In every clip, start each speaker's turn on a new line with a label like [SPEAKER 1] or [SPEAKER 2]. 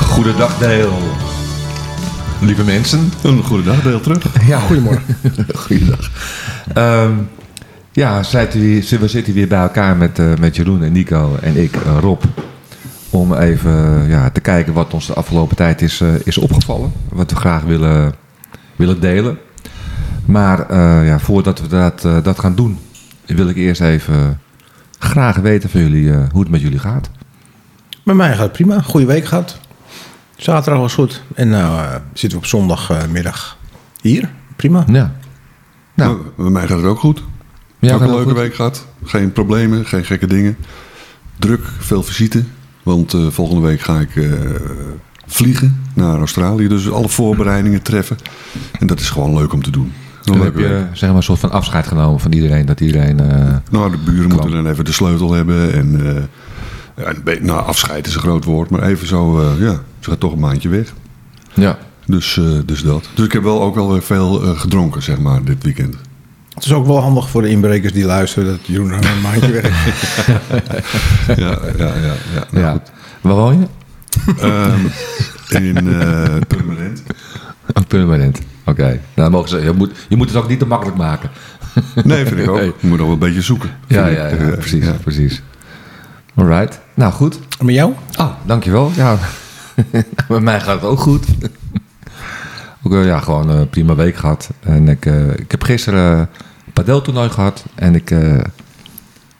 [SPEAKER 1] goede dagdeel. Lieve mensen, een goede dagdeel terug.
[SPEAKER 2] Ja, goedemorgen.
[SPEAKER 1] Goeiedag. Ehm, ja, zit u- we zitten weer bij elkaar met, eh, met Jeroen en Nico en ik, eh, Rob. Om even eh, ja, te kijken wat ons de afgelopen tijd is, eh, is opgevallen. Wat we graag willen, willen delen. Maar eh, ja, voordat we dat, eh, dat gaan doen, wil ik eerst even graag weten van jullie eh, hoe het met jullie gaat.
[SPEAKER 2] Met mij gaat het prima. Goede week gehad. Zaterdag was goed. En nou eh, zitten we op zondagmiddag hier. Prima.
[SPEAKER 1] Ja. Nou.
[SPEAKER 3] Nou, bij mij gaat het ook goed.
[SPEAKER 1] Ja,
[SPEAKER 3] ook
[SPEAKER 1] gaat
[SPEAKER 3] een
[SPEAKER 1] het
[SPEAKER 3] leuke
[SPEAKER 1] goed?
[SPEAKER 3] week gehad. Geen problemen, geen gekke dingen. Druk, veel visite. Want eh, volgende week ga ik eh, vliegen naar Australië. Dus alle voorbereidingen treffen. En dat is gewoon leuk om te doen. Een
[SPEAKER 1] Dan heb
[SPEAKER 3] leuke
[SPEAKER 1] je
[SPEAKER 3] week.
[SPEAKER 1] eh, zeg maar, een soort van afscheid genomen van iedereen. Dat iedereen... eh,
[SPEAKER 3] Nou, de buren moeten dan even de sleutel hebben. En, eh, en be- nou, afscheid is een groot woord. Maar even zo, eh, ja, ze gaat toch een maandje weg.
[SPEAKER 1] ja.
[SPEAKER 3] Dus, eh, dus dat. Dus ik heb wel ook wel weer veel eh, gedronken, zeg maar, dit weekend.
[SPEAKER 2] Het is ook wel handig voor de inbrekers die luisteren dat Jeroen nog een maandje weg is.
[SPEAKER 3] Ja, ja, ja. ja, Nou,
[SPEAKER 1] ja. Waar woon je?
[SPEAKER 3] Ehm, in eh permanent.
[SPEAKER 1] Ook permanent. Oké. Nou, dan mogen ze, je, moet, je moet het ook niet te makkelijk maken.
[SPEAKER 3] Nee, vind ik ook.
[SPEAKER 1] Nee.
[SPEAKER 3] Je Moet nog wel een beetje zoeken.
[SPEAKER 1] Ja,
[SPEAKER 3] vind
[SPEAKER 1] ja,
[SPEAKER 3] ik.
[SPEAKER 1] ja,
[SPEAKER 3] Eh,
[SPEAKER 1] precies.
[SPEAKER 3] ja.
[SPEAKER 1] precies. Alright. Nou, goed.
[SPEAKER 2] En Met jou?
[SPEAKER 1] Oh, dankjewel. Ja. Bij mij gaat het ook goed. Ook eh, ja, gewoon een prima week gehad. En ik, eh, ik heb gisteren een padeltoernooi gehad. En ik eh,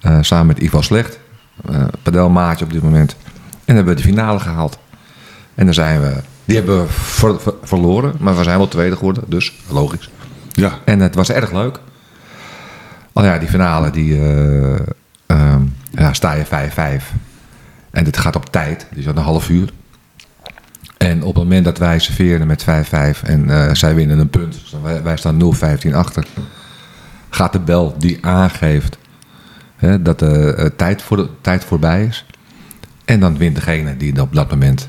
[SPEAKER 1] eh, samen met Ivo Slecht, eh padelmaatje op dit moment. En hebben we de finale gehaald. En dan zijn we, die hebben we ver- ver- verloren. Maar we zijn wel tweede geworden, dus logisch.
[SPEAKER 3] Ja,
[SPEAKER 1] En het was erg leuk. Al ja, die finale, die eh, ehm, ja, sta je 5-5. En dit gaat op tijd, dus dat een half uur. En op het moment dat wij serveerden met 5-5 en eh, zij winnen een punt, dus wij, wij staan 0-15 achter, gaat de bel die aangeeft hè, dat de eh, tijd, voor de, tijd voorbij is. En dan wint degene die op dat moment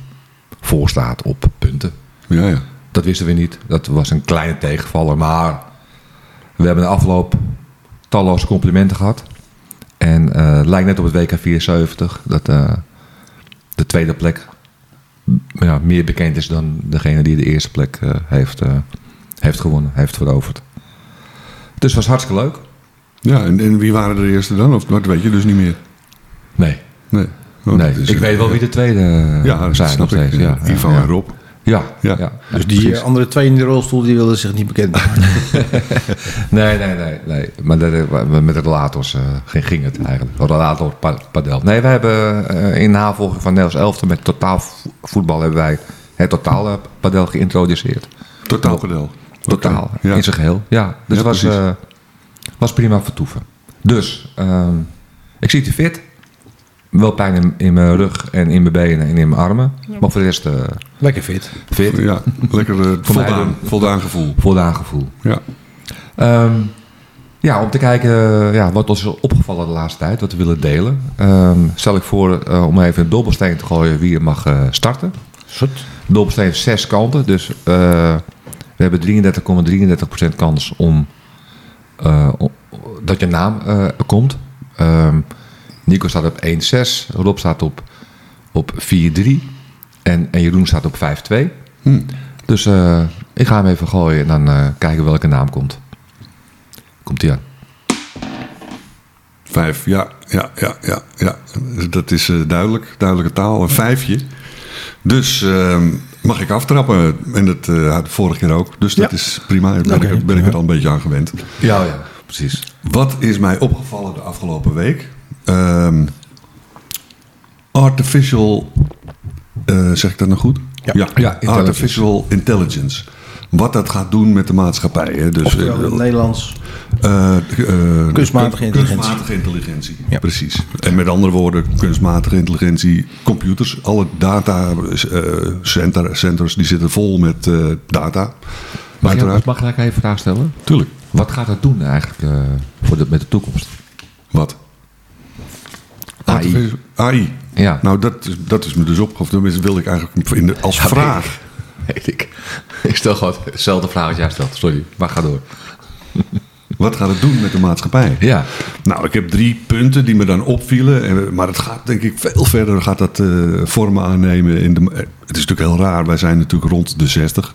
[SPEAKER 1] voor staat op punten.
[SPEAKER 3] ja, ja.
[SPEAKER 1] Dat wisten we niet. Dat was een kleine tegenvaller. Maar we hebben de afloop talloze complimenten gehad. En eh, het lijkt net op het WK 74 dat eh, de tweede plek ja, meer bekend is dan degene die de eerste plek eh, heeft, eh, heeft gewonnen, heeft veroverd. Dus het was hartstikke leuk.
[SPEAKER 3] ja en, en wie waren de eerste dan? Of dat weet je dus niet meer.
[SPEAKER 1] Nee,
[SPEAKER 3] Nee. Want
[SPEAKER 1] nee.
[SPEAKER 3] het is,
[SPEAKER 1] ik
[SPEAKER 3] eh,
[SPEAKER 1] weet wel wie de tweede eh,
[SPEAKER 3] Ja, dat
[SPEAKER 1] zijn
[SPEAKER 3] snap
[SPEAKER 1] nog
[SPEAKER 3] ik.
[SPEAKER 1] steeds. Ja,
[SPEAKER 3] Ja, Ivan
[SPEAKER 1] ja.
[SPEAKER 3] en Rob.
[SPEAKER 1] Ja, ja.
[SPEAKER 3] Ja.
[SPEAKER 2] Dus die
[SPEAKER 1] precies.
[SPEAKER 2] eh, andere twee in de rolstoel die wilden zich niet bekend maken.
[SPEAKER 1] Nee, nee, nee. nee. Maar dat, eh, met de relators eh, ging, ging het eigenlijk. Relator pa- padel. Nee, wij hebben eh, in navolging van Nederlands Elfte met totaal vo- voetbal hebben wij het totale padel geïntroduceerd.
[SPEAKER 3] Totaal padel.
[SPEAKER 1] eh, Totaal,
[SPEAKER 3] Oké. Ja.
[SPEAKER 1] in zijn geheel. Ja, dus het
[SPEAKER 3] Ja,
[SPEAKER 1] was,
[SPEAKER 3] precies.
[SPEAKER 1] eh, was prima vertoeven. Dus, ehm, ik zie te fit. Wel pijn in, in mijn rug en in mijn benen en in mijn armen. Maar voor de rest eh,
[SPEAKER 2] Lekker fit.
[SPEAKER 1] fit.
[SPEAKER 3] Ja, lekker eh,
[SPEAKER 1] mij
[SPEAKER 3] voldaan, voldaan gevoel.
[SPEAKER 1] Voldaan gevoel.
[SPEAKER 3] Ja.
[SPEAKER 1] Ehm, ja, om te kijken eh, ja, wat ons is opgevallen de laatste tijd, wat we willen delen. Ehm, stel ik voor eh, om even een dobbelsteen te gooien wie er mag eh, starten.
[SPEAKER 2] Goed.
[SPEAKER 1] Dobbelsteen heeft zes kanten, dus eh, we hebben 33,33% kans om eh, o- o- dat je naam eh, komt. Ehm, Nico staat op 1,6, Rob staat op, op 4,3 en, en Jeroen staat op 5,2.
[SPEAKER 3] Hm.
[SPEAKER 1] Dus eh, ik ga hem even gooien en dan eh, kijken welke naam komt. Komt hij aan.
[SPEAKER 3] Vijf, ja, ja, ja, ja, ja. Dat is eh, duidelijk, duidelijke taal. Een vijfje. Dus ehm, mag ik aftrappen? En dat eh, had ik vorige keer ook. Dus dat
[SPEAKER 2] Ja.
[SPEAKER 3] is prima. Daar ben,
[SPEAKER 2] Oké,
[SPEAKER 3] ik, ben ik er al een beetje aan gewend.
[SPEAKER 1] Ja, ja, precies.
[SPEAKER 3] Wat is mij opgevallen de afgelopen week? Ehm, artificial. eh, zeg ik dat nou goed?
[SPEAKER 2] Ja.
[SPEAKER 1] intelligence.
[SPEAKER 3] artificial intelligence. Wat dat gaat doen met de maatschappij. Hè? Dus,
[SPEAKER 2] Oftewel in
[SPEAKER 3] eh,
[SPEAKER 2] het Nederlands.
[SPEAKER 3] eh, eh,
[SPEAKER 2] Kunstmatige intelligentie.
[SPEAKER 3] Kunstmatige intelligentie.
[SPEAKER 2] Ja.
[SPEAKER 3] Precies. En met andere woorden, kunstmatige intelligentie, computers, alle data eh, center, centers, die zitten vol met eh, data.
[SPEAKER 1] Mag, ik,
[SPEAKER 3] Uiteraard.
[SPEAKER 1] mag ik even een vraag stellen?
[SPEAKER 3] Tuurlijk.
[SPEAKER 1] Wat gaat dat doen eigenlijk eh, voor de, met de toekomst?
[SPEAKER 3] Wat?
[SPEAKER 1] AI.
[SPEAKER 3] AI.
[SPEAKER 1] Ja,
[SPEAKER 3] Nou, dat, is- dat is me dus opgevallen. Tenminste, wilde ik eigenlijk in de, als
[SPEAKER 1] Ja,
[SPEAKER 3] vraag.
[SPEAKER 1] weet ik. Ik stel gewoon hetzelfde vraag als jij stelt. Sorry, maar ga door.
[SPEAKER 3] Wat gaat het doen met de maatschappij?
[SPEAKER 1] Ja,
[SPEAKER 3] Nou, ik heb drie punten die me dan opvielen. En- Maar het gaat denk ik veel verder gaat dat eh, vormen aannemen. In de, eh, het is natuurlijk heel raar. Wij zijn natuurlijk rond de 60.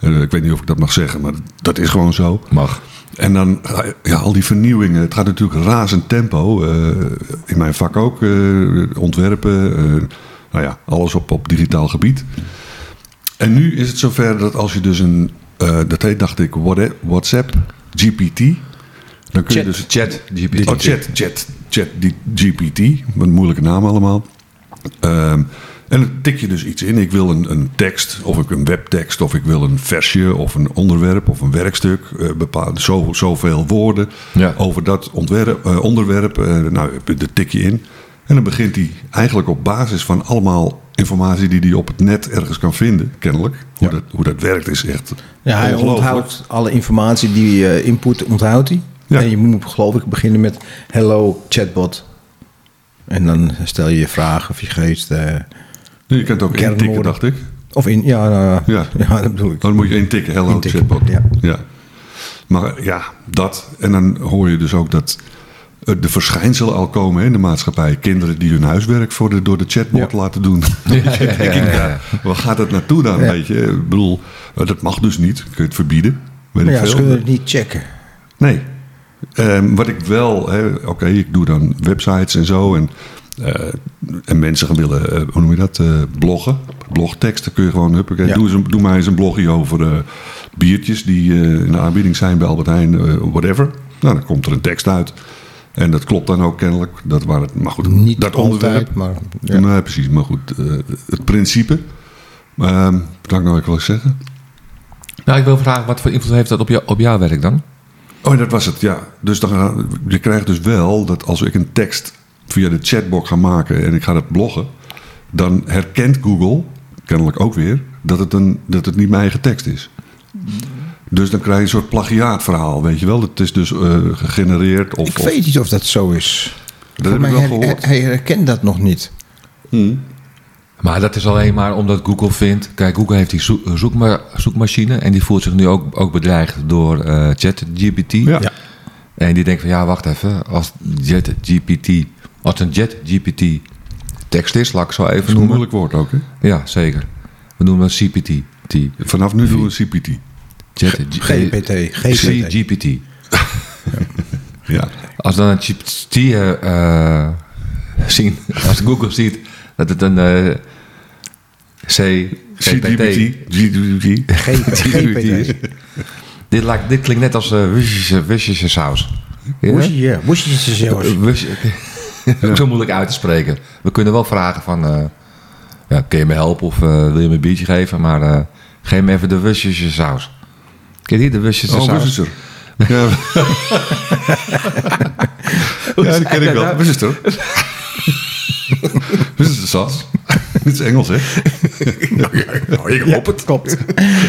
[SPEAKER 3] Eh, ik weet niet of ik dat mag zeggen, maar dat is gewoon zo.
[SPEAKER 1] mag.
[SPEAKER 3] En dan eh, ja, al die vernieuwingen. Het gaat natuurlijk razend tempo. eh, in mijn vak ook. eh, ontwerpen. eh, nou ja, alles op, op digitaal gebied. En nu is het zover dat als je dus een... eh, dat heet, dacht ik, What- WhatsApp GPT. Dan kun je dus
[SPEAKER 1] Chat, GPT.
[SPEAKER 3] Oh, chat, chat, chat, die GPT. Wat een moeilijke naam allemaal. Ehm, en dan tik je dus iets in. Ik wil een, een tekst, of ik een webtekst, of ik wil een versje, of een onderwerp, of een werkstuk. eh bepaalde, zo, zoveel woorden
[SPEAKER 1] Ja.
[SPEAKER 3] over dat ontwerp, eh, onderwerp. eh, nou, dat tik je in. En dan begint hij eigenlijk op basis van allemaal informatie die hij op het net ergens kan vinden, kennelijk. Hoe, dat, hoe dat werkt is echt
[SPEAKER 2] Ja, hij
[SPEAKER 3] ongelooflijk.
[SPEAKER 2] onthoudt alle informatie die je input, onthoudt hij.
[SPEAKER 3] Ja.
[SPEAKER 2] En je moet geloof ik beginnen met hello chatbot. En dan stel je je vragen of je geest. eh,
[SPEAKER 3] Je kunt het ook
[SPEAKER 2] Kernwoorden.
[SPEAKER 3] intikken, dacht ik.
[SPEAKER 2] of in, ja, nou,
[SPEAKER 3] Ja.
[SPEAKER 2] ja, dat bedoel ik.
[SPEAKER 3] Dan moet je intikken, hello
[SPEAKER 2] Intikken,
[SPEAKER 3] chatbot.
[SPEAKER 2] ja.
[SPEAKER 3] Ja. Maar ja, dat. En dan hoor je dus ook dat eh, de verschijnselen al komen hè, in de maatschappij. Kinderen die hun huiswerk voor de, door de chatbot laten doen.
[SPEAKER 1] ja, ja,
[SPEAKER 3] Denk ik,
[SPEAKER 1] ja, ja.
[SPEAKER 3] ja, Waar gaat het naartoe dan, weet je? Ik bedoel, eh, dat mag dus niet. Kun je het verbieden? Weet
[SPEAKER 2] Maar
[SPEAKER 3] ik
[SPEAKER 2] ja, ze
[SPEAKER 3] veel.
[SPEAKER 2] kunnen het niet checken.
[SPEAKER 3] Nee. Ehm, wat ik wel, hè, oké, ik doe dan websites en zo. En, eh, en mensen willen, eh, hoe noem je dat, eh, bloggen. Blogteksten kun je gewoon, huppakee,
[SPEAKER 2] Ja.
[SPEAKER 3] doe, eens een, doe mij eens een blogje over eh, biertjes die eh, in de aanbieding zijn bij Albert Heijn, eh, whatever. Nou, dan komt er een tekst uit. En dat klopt dan ook kennelijk. Dat, waar het, maar goed,
[SPEAKER 2] Niet
[SPEAKER 3] dat
[SPEAKER 2] altijd,
[SPEAKER 3] onderwerp.
[SPEAKER 2] maar ja.
[SPEAKER 3] Ja. Nee, precies. Maar goed, eh, het principe. Ehm wat had ik nou ook wel zeggen?
[SPEAKER 1] Nou, ik wil vragen, wat voor invloed heeft dat op, jou, op jouw werk dan?
[SPEAKER 3] Oh, dat was het, ja. Dus dan, gaan- je krijgt dus wel dat als ik een tekst via de chatbot ga maken en ik ga dat bloggen, dan herkent Google, kennelijk ook weer, dat het, een, dat het niet mijn eigen tekst is. Dus dan krijg je een soort plagiaatverhaal, weet je wel. Dat is dus eh, gegenereerd of...
[SPEAKER 2] Ik
[SPEAKER 3] of-
[SPEAKER 2] weet niet of dat zo is.
[SPEAKER 3] dat heb ik
[SPEAKER 2] Maar
[SPEAKER 3] wel
[SPEAKER 2] hij,
[SPEAKER 3] gehoord.
[SPEAKER 2] hij herkent dat nog niet.
[SPEAKER 1] Maar dat is alleen maar omdat Google vindt... Kijk, Google heeft die zoek- zoekma- zoekmachine... en die voelt zich nu ook, ook bedreigd door eh ChatGPT.
[SPEAKER 3] Ja.
[SPEAKER 2] Ja.
[SPEAKER 1] En die denkt van, ja, wacht even. Als ChatGPT... Als een ChatGPT tekst is, laat ik het zo
[SPEAKER 3] dat is
[SPEAKER 1] even
[SPEAKER 3] een
[SPEAKER 1] noemen.
[SPEAKER 3] moeilijk woord ook, hè.
[SPEAKER 1] Ja, zeker. We noemen dat CPT. T.
[SPEAKER 3] Vanaf nu doen we CPT.
[SPEAKER 1] Chat,
[SPEAKER 2] GPT. GPT.
[SPEAKER 1] CGPT.
[SPEAKER 3] Ja.
[SPEAKER 1] Als dan een GPT eh, eh, zien, als Google ziet dat het een eh C, GPT.
[SPEAKER 3] CGPT. CGPT.
[SPEAKER 2] GPT.
[SPEAKER 1] Dit, lijkt, dit klinkt net als eh Russische, Russische saus. Ja?
[SPEAKER 2] Woesje, ja. Woesje is er zelfs.
[SPEAKER 1] Russische- Ook zo moeilijk uit te spreken. We kunnen wel vragen van, eh, ja, kun je me helpen of eh, wil je me een biertje geven? Maar eh, geef me even de Russische saus. Ken je die, de Russische
[SPEAKER 3] Oh,
[SPEAKER 1] saus?
[SPEAKER 3] Russischer. Ja, ja dat ken ik wel. Russister. Russister saus. Dit is Engels, hè?
[SPEAKER 1] Nou, ik hoop het. Klopt.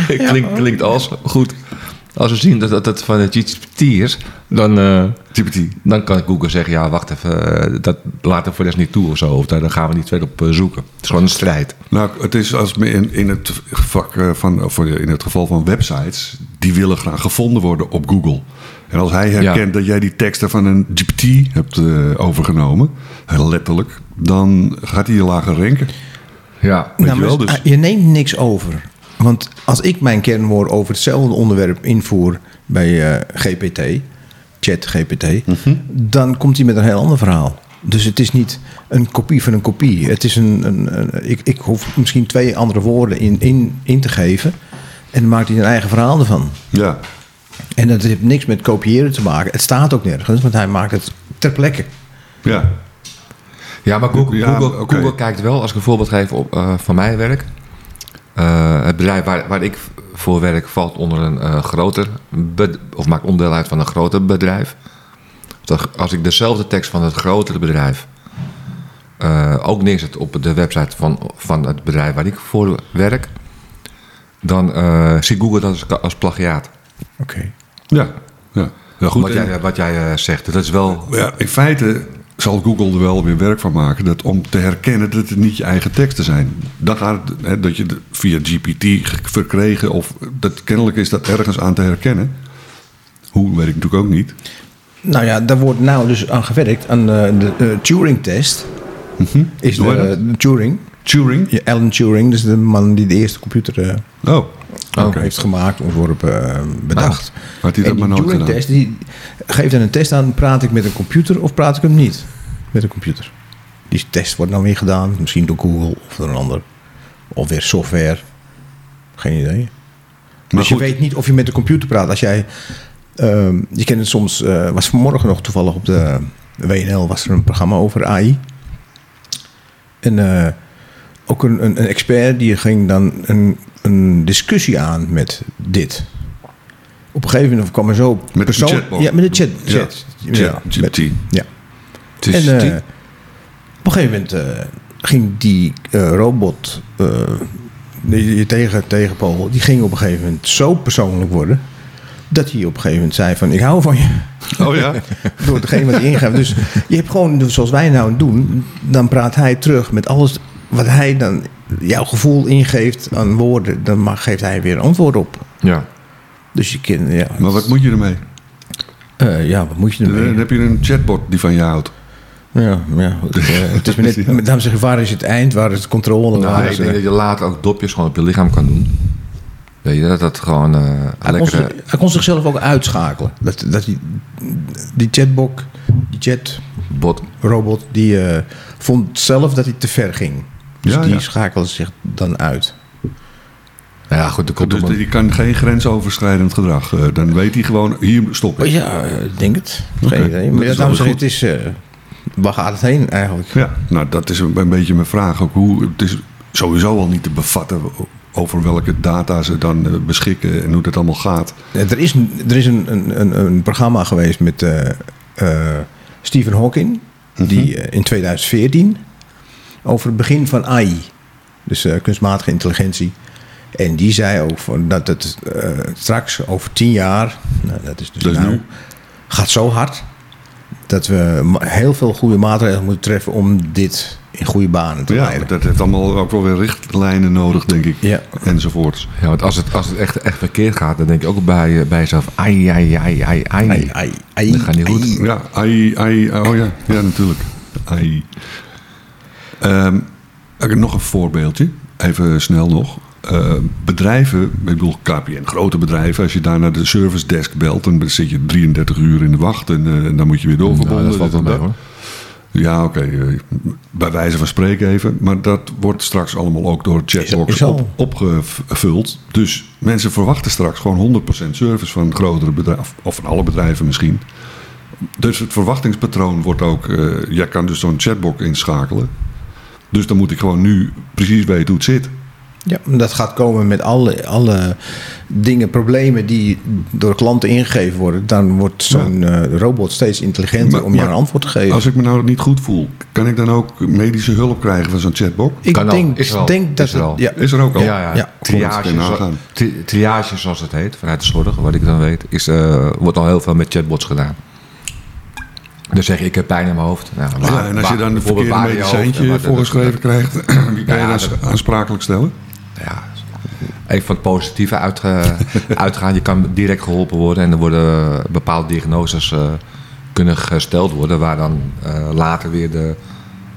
[SPEAKER 1] Klink, klinkt als goed. Als we zien dat dat, dat van de GPT is, dan, eh,
[SPEAKER 3] TPT.
[SPEAKER 1] dan kan Google zeggen: ja, wacht even, eh, dat laten we voor de rest niet toe of zo. Of daar daar gaan we niet verder op eh, zoeken. Het is gewoon een strijd.
[SPEAKER 3] Nou, het is als me in, in het vak eh, van, of in het geval van websites, die willen graag gevonden worden op Google. En als hij herkent dat jij die teksten van een GPT hebt eh, overgenomen, eh, letterlijk, dan gaat hij je lager ranken.
[SPEAKER 1] Ja.
[SPEAKER 3] Weet
[SPEAKER 2] Nou,
[SPEAKER 3] je wel,
[SPEAKER 2] maar
[SPEAKER 3] dus-
[SPEAKER 2] Je neemt niks over. Want als ik mijn kernwoord over hetzelfde onderwerp invoer bij eh, GPT, chat GPT,
[SPEAKER 3] Mhm.
[SPEAKER 2] dan komt hij met een heel ander verhaal. Dus het is niet een kopie van een kopie. Het is een, een, een- ik, ik hoef misschien twee andere woorden in, in, in te geven. En dan maakt hij een eigen verhaal ervan.
[SPEAKER 3] Ja,
[SPEAKER 2] En dat heeft niks met kopiëren te maken. Het staat ook nergens, want hij maakt het ter plekke.
[SPEAKER 3] ja.
[SPEAKER 1] Ja, maar Google,
[SPEAKER 3] Ja,
[SPEAKER 1] Google,
[SPEAKER 3] oké.
[SPEAKER 1] Google kijkt wel, als ik een voorbeeld geef op, eh, van mijn werk. Eh, het bedrijf waar, waar ik voor werk valt onder een eh, groter, bed- of maakt onderdeel uit van een groter bedrijf. Dat Als ik dezelfde tekst van het grotere bedrijf eh, ook neerzet op de website van, van het bedrijf waar ik voor werk, dan eh, ziet Google dat als, als plagiaat.
[SPEAKER 2] Oké.
[SPEAKER 3] Ja, ja. ja goed.
[SPEAKER 1] wat,
[SPEAKER 3] en-
[SPEAKER 1] jij, wat jij eh, zegt, dat is wel...
[SPEAKER 3] Ja, in feite zal Google er wel weer werk van maken dat om te herkennen dat het niet je eigen teksten zijn. Dan gaat het, hè, dat je de- via GPT ge- verkregen of dat kennelijk is dat ergens aan te herkennen. Hoe weet ik natuurlijk ook niet.
[SPEAKER 2] Nou ja, daar wordt nou dus aan gewerkt. Aan eh, de eh, Turing-test. Is
[SPEAKER 3] Hoe heet
[SPEAKER 2] de, de Turing.
[SPEAKER 3] Turing?
[SPEAKER 2] Ja, Alan Turing, dus de man die de eerste computer eh,
[SPEAKER 3] Oh, oké. Ah,
[SPEAKER 2] heeft gemaakt, ontworpen, eh, bedacht.
[SPEAKER 3] had hij dat
[SPEAKER 2] en
[SPEAKER 3] maar
[SPEAKER 2] die
[SPEAKER 3] nooit gedaan.
[SPEAKER 2] Turing-test, die geeft dan een test aan, praat ik met een computer of praat ik hem niet met een computer? Die test wordt dan weer gedaan, misschien door Google of door een ander. Of weer software, geen idee.
[SPEAKER 3] Maar
[SPEAKER 2] dus
[SPEAKER 3] goed,
[SPEAKER 2] je weet niet of je met de computer praat. Als jij, ehm, je kent het soms, eh, was vanmorgen nog toevallig op de WNL was er een programma over AI. En eh, ook een, een, een expert die ging dan een, een discussie aan met dit. Op een gegeven moment kwam er zo
[SPEAKER 3] een
[SPEAKER 2] persoon-
[SPEAKER 3] chatbot.
[SPEAKER 2] Ja, met de chat. chat.
[SPEAKER 3] Chat,
[SPEAKER 2] met-
[SPEAKER 3] GPT.
[SPEAKER 2] ja.
[SPEAKER 3] het is
[SPEAKER 2] En eh,
[SPEAKER 3] die-
[SPEAKER 2] op een gegeven moment eh, ging die eh, robot, eh, die, die tegen, tegenpool, die ging op een gegeven moment zo persoonlijk worden. Dat hij op een gegeven moment zei van ik hou van je.
[SPEAKER 3] Oh ja?
[SPEAKER 2] Door degene wat hij ingeeft. Dus je hebt gewoon, dus zoals wij nou doen, dan praat hij terug met alles wat hij dan jouw gevoel ingeeft aan woorden. Dan mag, geeft hij weer een antwoord op.
[SPEAKER 1] Ja.
[SPEAKER 2] Dus je kind, ja.
[SPEAKER 3] Maar wat moet je ermee?
[SPEAKER 2] Eh, ja, wat moet je
[SPEAKER 3] Dan,
[SPEAKER 2] ermee?
[SPEAKER 3] dan heb je een chatbot die van je houdt.
[SPEAKER 2] Ja, ja. goed. Eh, het is maar net, met dames en heren, waar is het eind? Waar is de controle?
[SPEAKER 1] Nou,
[SPEAKER 2] waar
[SPEAKER 1] ik
[SPEAKER 2] is,
[SPEAKER 1] denk
[SPEAKER 2] eh,
[SPEAKER 1] dat je later ook dopjes gewoon op je lichaam kan doen. Weet je, dat dat gewoon eh, een
[SPEAKER 2] Hij kon, zich,
[SPEAKER 1] lekkere...
[SPEAKER 2] hij kon zichzelf ook uitschakelen. Dat, dat die, die chatbot, die
[SPEAKER 1] Bot.
[SPEAKER 2] chatrobot, die eh, vond zelf dat hij te ver ging. Dus
[SPEAKER 3] Ja,
[SPEAKER 2] die
[SPEAKER 3] ja.
[SPEAKER 2] schakelde zich dan uit.
[SPEAKER 1] Nou Ja, goed, de komt
[SPEAKER 3] Dus
[SPEAKER 1] op een-
[SPEAKER 3] die kan geen grensoverschrijdend gedrag. eh, dan weet hij gewoon, hier stop ik.
[SPEAKER 2] Oh ja, eh, ik denk het. Geen
[SPEAKER 3] Oké,
[SPEAKER 2] idee.
[SPEAKER 3] dat
[SPEAKER 2] Maar ja,
[SPEAKER 3] is
[SPEAKER 2] dames en
[SPEAKER 3] wel
[SPEAKER 2] heren, het is... eh, waar gaat het heen eigenlijk?
[SPEAKER 3] Ja, nou dat is een, een beetje mijn vraag. Ook hoe, het is sowieso al niet te bevatten over welke data ze dan eh, beschikken en hoe dat allemaal gaat.
[SPEAKER 2] Eh, Er is, een- er is een, een, een, een programma geweest met eh, eh, Stephen Hawking. Die eh, in 2014. Over het begin van AI. Dus eh, kunstmatige intelligentie. En die zei ook van dat het eh, straks over tien jaar. Nou, dat is dus
[SPEAKER 3] Dat is
[SPEAKER 2] nou,
[SPEAKER 3] nu.
[SPEAKER 2] Gaat zo hard. Dat we ma- heel veel goede maatregelen moeten treffen. om dit in goede banen te
[SPEAKER 3] Ja,
[SPEAKER 2] leiden.
[SPEAKER 3] dat heeft allemaal ook wel weer richtlijnen nodig, denk ik.
[SPEAKER 2] Ja.
[SPEAKER 3] Enzovoorts.
[SPEAKER 1] Ja, want als het, als het echt, echt verkeerd gaat, dan denk je ook bij, je- bij jezelf... Ai, ai, ai, ai, ai.
[SPEAKER 2] Ai, ai, ai,
[SPEAKER 1] Dat gaat niet goed.
[SPEAKER 2] ai.
[SPEAKER 3] Ja, ai, ai, oh ja, ja natuurlijk. Ai. Ehm, oké, nog een voorbeeldje, even snel nog. Eh, bedrijven, ik bedoel KPN, grote bedrijven, als je daar naar de service desk belt, dan zit je 33 uur in de wacht en, eh, en dan moet je weer
[SPEAKER 1] Nou,
[SPEAKER 3] doorverbonden.
[SPEAKER 1] dat valt wel mee, hoor.
[SPEAKER 3] Ja, oké, eh, bij wijze van spreken even. Maar dat wordt straks allemaal ook door chatbox
[SPEAKER 2] Is al-
[SPEAKER 3] op, opgevuld. Dus mensen verwachten straks gewoon 100% service van grotere bedrijven, of van alle bedrijven misschien. Dus het verwachtingspatroon wordt ook. eh, jij kan dus zo'n chatbot inschakelen. Dus dan moet ik gewoon nu precies weten hoe het zit.
[SPEAKER 2] Ja, en dat gaat komen met alle, alle dingen, problemen die door klanten ingegeven worden. Dan wordt zo'n eh, robot steeds intelligenter
[SPEAKER 3] Maar-
[SPEAKER 2] om jou
[SPEAKER 3] maar
[SPEAKER 2] een antwoord te geven.
[SPEAKER 3] Als ik me nou niet goed voel, kan ik dan ook medische hulp krijgen van zo'n chatbot?
[SPEAKER 2] ik
[SPEAKER 1] Kan al,
[SPEAKER 2] denk,
[SPEAKER 1] is er al,
[SPEAKER 2] denk dat
[SPEAKER 1] is er
[SPEAKER 2] het-
[SPEAKER 1] al.
[SPEAKER 2] ja,
[SPEAKER 3] Is er ook al?
[SPEAKER 1] Ja, ja.
[SPEAKER 2] Ja,
[SPEAKER 3] goed,
[SPEAKER 1] triage,
[SPEAKER 3] kun je
[SPEAKER 1] zo-
[SPEAKER 3] nagaan.
[SPEAKER 1] tri- triage, zoals het heet, vanuit de slordig, wat ik dan weet, is, eh, wordt al heel veel met chatbots gedaan. Dan zeg je, ik heb pijn in mijn hoofd. Nou, waar-
[SPEAKER 3] Ja, en als je
[SPEAKER 1] waar-
[SPEAKER 3] dan een
[SPEAKER 1] bijvoorbeeld
[SPEAKER 3] verkeerde
[SPEAKER 1] waar in je hoofd en wat-
[SPEAKER 3] medicijntje
[SPEAKER 1] dat- dat-
[SPEAKER 3] voorgeschreven krijgt, wie kan je
[SPEAKER 1] Ja,
[SPEAKER 3] dan
[SPEAKER 1] dat-
[SPEAKER 3] aansprakelijk stellen?
[SPEAKER 1] Ja, even van het positieve uitge- uitgaan. Je kan direct geholpen worden en er worden bepaalde diagnoses eh, kunnen gesteld worden, waar dan eh, later weer de,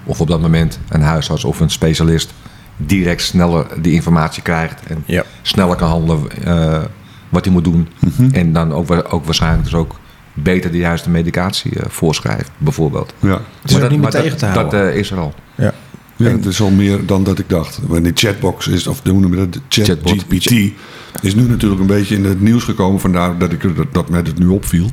[SPEAKER 1] of op dat moment een huisarts of een specialist direct sneller die informatie krijgt en
[SPEAKER 2] Ja.
[SPEAKER 1] sneller kan handelen eh, wat hij moet doen.
[SPEAKER 3] Mhm.
[SPEAKER 1] En dan ook, wa- ook waarschijnlijk dus ook beter de juiste medicatie eh, voorschrijft, bijvoorbeeld.
[SPEAKER 3] Ja.
[SPEAKER 2] het is ook niet meer
[SPEAKER 1] dat-
[SPEAKER 2] tegen te
[SPEAKER 1] dat,
[SPEAKER 2] houden.
[SPEAKER 1] eh, is er al.
[SPEAKER 2] ja.
[SPEAKER 3] Ja, het is al meer dan dat ik dacht. Maar die chatbox is, of hoe noem je dat? De Chat
[SPEAKER 1] Chatbot.
[SPEAKER 3] GPT is nu natuurlijk een beetje in het nieuws gekomen. Vandaar dat, ik, er- dat, dat mij het nu opviel.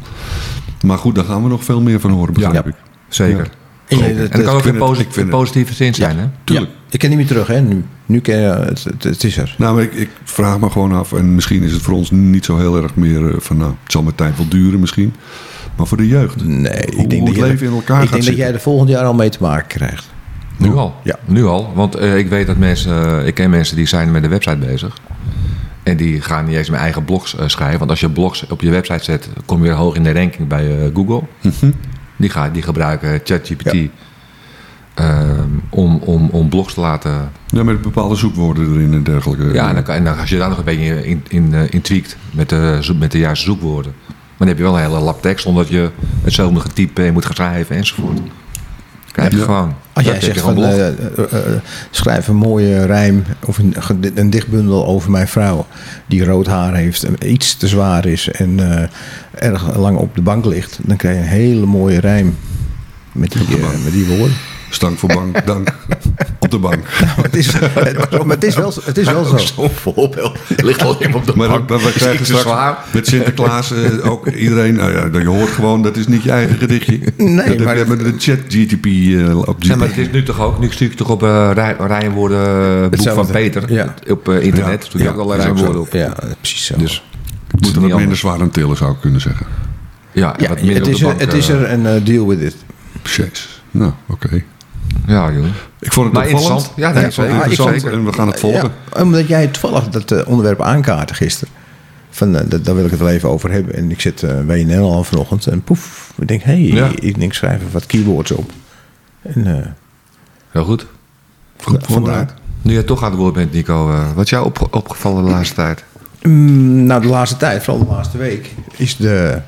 [SPEAKER 3] Maar goed, daar gaan we nog veel meer van horen, begrijp ik.
[SPEAKER 1] Zeker.
[SPEAKER 2] En je-
[SPEAKER 1] En
[SPEAKER 2] dat-
[SPEAKER 1] dat kan ook
[SPEAKER 3] vind
[SPEAKER 1] in
[SPEAKER 3] het-
[SPEAKER 1] posi-
[SPEAKER 3] ik vind het-
[SPEAKER 1] positieve zin zijn, hè?
[SPEAKER 2] ja,
[SPEAKER 3] Tuurlijk.
[SPEAKER 2] ik ken niet meer terug, hè, nu. Nu ken je, het, het, het is er.
[SPEAKER 3] Nou, maar ik, ik vraag me gewoon af. En misschien is het voor ons niet zo heel erg meer eh, van... Nou, het zal mijn tijd wel duren misschien. Maar voor de jeugd.
[SPEAKER 2] Nee,
[SPEAKER 3] Hoe-
[SPEAKER 2] ik denk
[SPEAKER 3] hoe
[SPEAKER 2] dat,
[SPEAKER 3] het
[SPEAKER 2] je-
[SPEAKER 3] leven in elkaar
[SPEAKER 2] ik
[SPEAKER 3] gaat
[SPEAKER 2] denk dat
[SPEAKER 3] zitten.
[SPEAKER 2] jij er volgend jaar al mee te maken krijgt.
[SPEAKER 1] Nu al?
[SPEAKER 2] Ja.
[SPEAKER 1] Nu al, want eh, ik weet dat mensen, eh, ik ken mensen die zijn met de website bezig. En die gaan niet eens mijn eigen blogs eh, schrijven. Want als je blogs op je website zet, kom je weer hoog in de ranking bij eh, Google. Die, gaan, die gebruiken ChatGPT
[SPEAKER 2] Mhm. Ja.
[SPEAKER 1] ehm, om, om, om blogs te laten.
[SPEAKER 3] Ja, met bepaalde zoekwoorden erin en dergelijke.
[SPEAKER 1] eh, Ja, en, dan, kan- en dan, als je daar nog een beetje in, in, eh, in tweakt met de, zo- met de juiste zoekwoorden, dan heb je wel een hele lap tekst, omdat je hetzelfde moet gaan typen en moet gaan schrijven enzovoort. Krijg je
[SPEAKER 3] Ja.
[SPEAKER 1] gewoon.
[SPEAKER 2] Als
[SPEAKER 1] Ja,
[SPEAKER 2] Oh, jij
[SPEAKER 1] heb je
[SPEAKER 2] zegt
[SPEAKER 1] gewoon
[SPEAKER 2] van,
[SPEAKER 1] blog.
[SPEAKER 2] eh, eh, eh, schrijf een mooie rijm of een, ged- een dichtbundel over mijn vrouw die rood haar heeft en iets te zwaar is en eh, erg lang op de bank ligt, dan krijg je een hele mooie rijm met die, eh, met die woorden.
[SPEAKER 3] Stank voor bank, dank. Op de bank.
[SPEAKER 2] Maar het is, het, maar het is wel, zo- het is wel zo.
[SPEAKER 1] Zo'n voorbeeld. Er ligt al iemand op de
[SPEAKER 3] Maar
[SPEAKER 1] bank.
[SPEAKER 3] we- we
[SPEAKER 1] Is
[SPEAKER 3] krijgen
[SPEAKER 1] iets te zwaar.
[SPEAKER 3] straks met Sinterklaas eh, ook iedereen... Nou ja, je hoort gewoon, dat is niet je eigen gedichtje. dat
[SPEAKER 2] maar-
[SPEAKER 3] hebben we de chat GTP eh, op GTP.
[SPEAKER 1] Nee, maar het is nu toch ook, nu stuur ik toch op eh rij, rijmwoorden eh, boek van
[SPEAKER 2] Hetzelfde.
[SPEAKER 1] Peter
[SPEAKER 2] Ja.
[SPEAKER 1] op eh, internet.
[SPEAKER 3] Ja,
[SPEAKER 1] Toen je
[SPEAKER 3] ja,
[SPEAKER 1] ook allerlei
[SPEAKER 3] is ook zo.
[SPEAKER 1] rijmwoorden op.
[SPEAKER 2] Ja, precies zo.
[SPEAKER 1] Dus
[SPEAKER 3] Het
[SPEAKER 1] moet er
[SPEAKER 3] moet wat
[SPEAKER 1] niet
[SPEAKER 3] minder
[SPEAKER 1] anders.
[SPEAKER 3] zwaar aan tillen, zou ik kunnen zeggen.
[SPEAKER 1] Ja, en
[SPEAKER 2] ja,
[SPEAKER 1] wat minder
[SPEAKER 2] het,
[SPEAKER 1] op
[SPEAKER 2] is
[SPEAKER 1] de
[SPEAKER 2] er,
[SPEAKER 1] bank,
[SPEAKER 2] het is
[SPEAKER 1] eh,
[SPEAKER 2] er en eh, deal with it.
[SPEAKER 3] Jezus. Nou, oké.
[SPEAKER 1] Ja, joh.
[SPEAKER 3] Ik vond het
[SPEAKER 1] Maar
[SPEAKER 3] opvallend.
[SPEAKER 1] interessant. Ja, nee,
[SPEAKER 3] ik vond het
[SPEAKER 1] zeker.
[SPEAKER 3] interessant
[SPEAKER 1] Zeker.
[SPEAKER 3] en we gaan het volgen.
[SPEAKER 2] Ja, omdat jij toevallig dat eh, onderwerp aankaartte gisteren. Van, eh, dat, daar wil ik het wel even over hebben. En ik zit eh WNL al vanochtend. En poef, ik denk, hé, hey,
[SPEAKER 1] Ja.
[SPEAKER 2] ik denk, schrijf even wat keywords op. En eh,
[SPEAKER 1] Heel goed.
[SPEAKER 2] Goed
[SPEAKER 3] voorbereid.
[SPEAKER 1] Nu je toch aan het woord bent, Nico. eh, wat is jou op, opgevallen de laatste tijd?
[SPEAKER 2] mm, nou, de laatste tijd, vooral de laatste week, is de,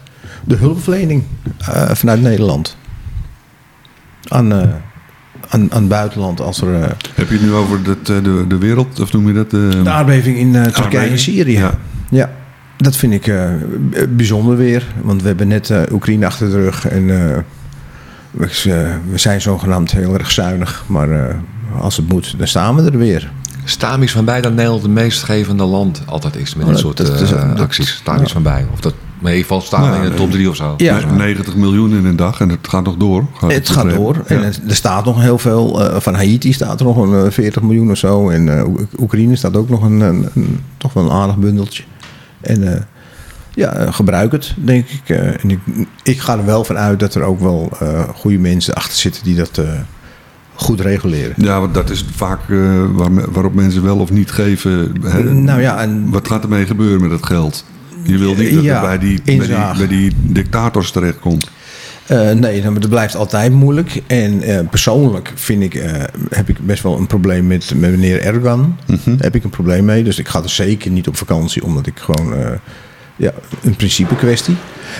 [SPEAKER 2] de hulpverlening eh, vanuit Nederland. Aan, eh, aan, aan het buitenland als er eh,
[SPEAKER 3] Heb je het nu over dat, eh, de, de wereld, of noem je dat? eh,
[SPEAKER 2] de aardbeving in eh, Turkije en
[SPEAKER 3] aardbeving?
[SPEAKER 2] Syrië.
[SPEAKER 3] Ja.
[SPEAKER 2] Ja, dat vind ik eh, b- bijzonder weer. Want we hebben net eh, Oekraïne achter de rug. En eh, we, eh, we zijn zogenaamd heel erg zuinig. Maar eh, als het moet, dan staan we er weer.
[SPEAKER 1] Staam is van bij dat Nederland het meest gevende land altijd is met
[SPEAKER 2] Oh,
[SPEAKER 1] dit
[SPEAKER 2] dat-
[SPEAKER 1] soort
[SPEAKER 2] dat is-
[SPEAKER 1] eh,
[SPEAKER 2] dat-
[SPEAKER 1] acties. Staam is van bij. Of dat, maar in ieder geval staan
[SPEAKER 3] Nou,
[SPEAKER 1] in de
[SPEAKER 3] eh,
[SPEAKER 1] top 3 of zo.
[SPEAKER 2] ja.
[SPEAKER 1] Dus, eh,
[SPEAKER 3] 90 miljoen in een dag en het gaat nog door.
[SPEAKER 2] het gaat door. En het- er staat nog heel veel. eh, van Haiti staat er nog een eh, 40 miljoen of zo. En eh, Oek- Oekraïne staat ook nog een, een- een- toch wel een aardig bundeltje. En eh, ja, eh, gebruik het, denk ik. Eh, en ik. Ik ga er wel van uit dat er ook wel eh, goede mensen achter zitten die dat eh, goed reguleren.
[SPEAKER 3] Ja, want dat is vaak eh, waar me- waarop mensen wel of niet geven. hè.
[SPEAKER 2] Nou ja, en
[SPEAKER 3] Wat gaat ermee gebeuren met dat geld? Je wil niet dat
[SPEAKER 2] Ja,
[SPEAKER 3] het bij die, bij die,
[SPEAKER 2] inzaag.
[SPEAKER 3] bij die dictators terechtkomt.
[SPEAKER 2] eh, nee, nou, maar dat blijft altijd moeilijk. En eh, persoonlijk vind ik, eh, heb ik best wel een probleem met, met meneer Erdogan.
[SPEAKER 3] Mhm.
[SPEAKER 2] Daar heb ik een probleem mee. Dus ik ga er zeker niet op vakantie, omdat ik gewoon. eh, ja, een principe kwestie.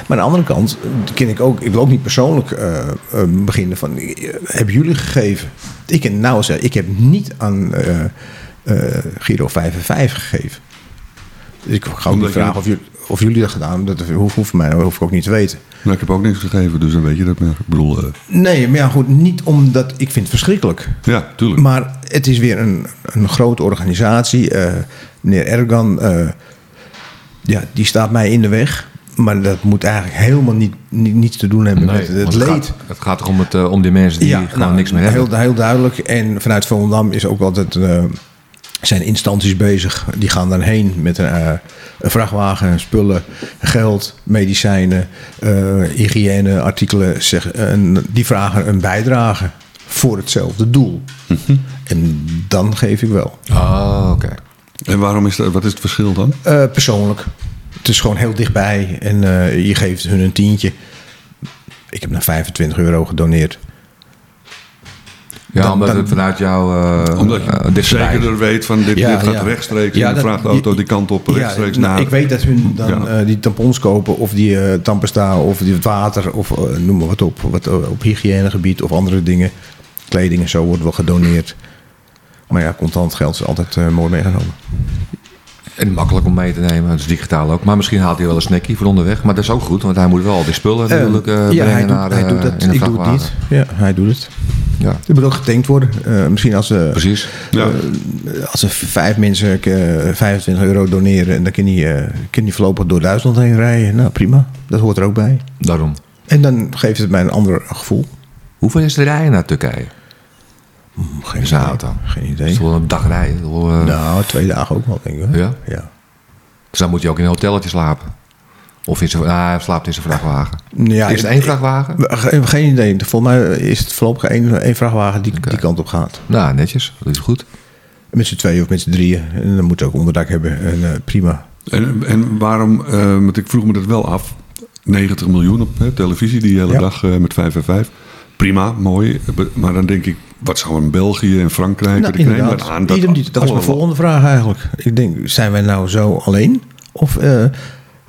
[SPEAKER 2] Maar aan de andere kant eh, ken ik ook, ik wil ook niet persoonlijk eh, eh, beginnen van, eh, hebben jullie gegeven? Ik kan nou zeggen, ik heb niet aan eh eh, Giro 5 en 5 gegeven. Dus ik ga ook
[SPEAKER 3] Omdat
[SPEAKER 2] niet vragen
[SPEAKER 3] je-
[SPEAKER 2] of jullie, of jullie dat gedaan hebben. Dat hoeft, hoeft mij, hoef ik ook niet te weten.
[SPEAKER 3] Nou, ik heb ook niks gegeven, dus dan weet je dat. Maar, ik bedoel, eh,
[SPEAKER 2] Nee, maar ja, goed, niet omdat ik vind het verschrikkelijk.
[SPEAKER 3] ja, tuurlijk.
[SPEAKER 2] Maar het is weer een, een grote organisatie. Eh, meneer Erdogan, eh, ja, die staat mij in de weg. Maar dat moet eigenlijk helemaal niet, niet, niets te doen hebben
[SPEAKER 1] nee,
[SPEAKER 2] met het
[SPEAKER 1] want
[SPEAKER 2] leed.
[SPEAKER 1] Gaat, het gaat toch om, het, eh, om die mensen die gewoon
[SPEAKER 2] nou,
[SPEAKER 1] niks meer hebben.
[SPEAKER 2] heel, heel duidelijk. En vanuit Volendam is ook altijd, eh, zijn instanties bezig. Die gaan daarheen met een, eh, een vrachtwagen, spullen, geld, medicijnen, eh hygiëneartikelen. Zeg, eh, en die vragen een bijdrage voor hetzelfde doel.
[SPEAKER 1] Mhm.
[SPEAKER 2] En dan geef ik wel.
[SPEAKER 1] Oh, oké.
[SPEAKER 3] En waarom is dat, wat is het verschil dan?
[SPEAKER 2] Eh, persoonlijk. Het is gewoon heel dichtbij en eh, je geeft hun een tientje. Ik heb naar 25 euro gedoneerd.
[SPEAKER 1] Ja,
[SPEAKER 2] Dan-
[SPEAKER 1] omdat
[SPEAKER 2] dan-
[SPEAKER 1] het vanuit jou... eh
[SPEAKER 3] Omdat je
[SPEAKER 1] eh, dichterbij is.
[SPEAKER 3] zekerder weet van dit,
[SPEAKER 2] Ja,
[SPEAKER 3] dit gaat
[SPEAKER 2] ja.
[SPEAKER 3] rechtstreeks.
[SPEAKER 2] Ja,
[SPEAKER 3] en
[SPEAKER 2] dat-
[SPEAKER 3] dan vraagt de auto
[SPEAKER 2] je-
[SPEAKER 3] die kant op rechtstreeks
[SPEAKER 2] nou,
[SPEAKER 3] naar.
[SPEAKER 2] Ik weet dat hun dan
[SPEAKER 3] Ja.
[SPEAKER 2] eh, die tampons kopen of die eh, tandpasta of die het water of eh, noem maar wat op. Wat, eh, op hygiënegebied of andere dingen. Kleding en zo wordt wel gedoneerd. Maar ja, contant geld is altijd eh, mooi meegenomen.
[SPEAKER 1] En makkelijk om mee te nemen, dat is digitaal ook. Maar misschien haalt hij wel een snackie voor onderweg. Maar dat is ook goed, want hij moet wel al die spullen natuurlijk eh,
[SPEAKER 2] ja,
[SPEAKER 1] brengen
[SPEAKER 2] hij doet,
[SPEAKER 1] naar,
[SPEAKER 2] hij
[SPEAKER 1] eh,
[SPEAKER 2] doet dat.
[SPEAKER 1] in de
[SPEAKER 2] Ik doe het
[SPEAKER 1] vrachtwagen.
[SPEAKER 2] niet. Ja, hij doet het.
[SPEAKER 1] Ja,
[SPEAKER 2] Er moet ook getankt worden. Eh, misschien als, eh,
[SPEAKER 1] precies.
[SPEAKER 3] ja.
[SPEAKER 2] als er vijf mensen eh, 25 euro doneren... en dan kan die, eh kan die voorlopig door Duitsland heen rijden. Nou, prima. Dat hoort er ook bij.
[SPEAKER 1] Daarom.
[SPEAKER 2] En dan geeft het mij een ander gevoel.
[SPEAKER 1] Hoeveel is de rijden naar Turkije?
[SPEAKER 2] Geen
[SPEAKER 1] In zijn auto.
[SPEAKER 2] Geen
[SPEAKER 1] Dat is
[SPEAKER 2] idee.
[SPEAKER 1] toch wel een dag rijden. Ik bedoel, eh,
[SPEAKER 2] Nou, twee dagen ook wel, denk ik. hoor.
[SPEAKER 1] Ja?
[SPEAKER 2] ja.
[SPEAKER 1] Dus dan moet je ook in een hotelletje slapen. Of in zijn, ah, hij slaapt in zijn vrachtwagen.
[SPEAKER 2] Ja,
[SPEAKER 1] is het
[SPEAKER 2] ik-
[SPEAKER 1] één vrachtwagen?
[SPEAKER 2] We- ge- Geen idee. Volgens mij is het voorlopig één, één vrachtwagen die,
[SPEAKER 1] Oké.
[SPEAKER 2] die kant op gaat.
[SPEAKER 1] Nou, netjes. Dat is goed.
[SPEAKER 2] Met z'n tweeën of met z'n drieën. En dan moet je ook onderdak hebben. En eh, prima.
[SPEAKER 3] En, en waarom, eh, want ik vroeg me dat wel af. 90 miljoen op hè, televisie die hele
[SPEAKER 2] Ja.
[SPEAKER 3] dag eh, met 5 en 5. Prima, mooi. Maar dan denk ik, wat zou in België en Frankrijk...
[SPEAKER 2] Nou,
[SPEAKER 3] wat ik neem maar
[SPEAKER 2] inderdaad.
[SPEAKER 3] aan dat
[SPEAKER 2] Idem niet. Dat is mijn
[SPEAKER 3] allemaal-
[SPEAKER 2] volgende vraag eigenlijk. Ik denk, zijn wij nou zo alleen? Of eh,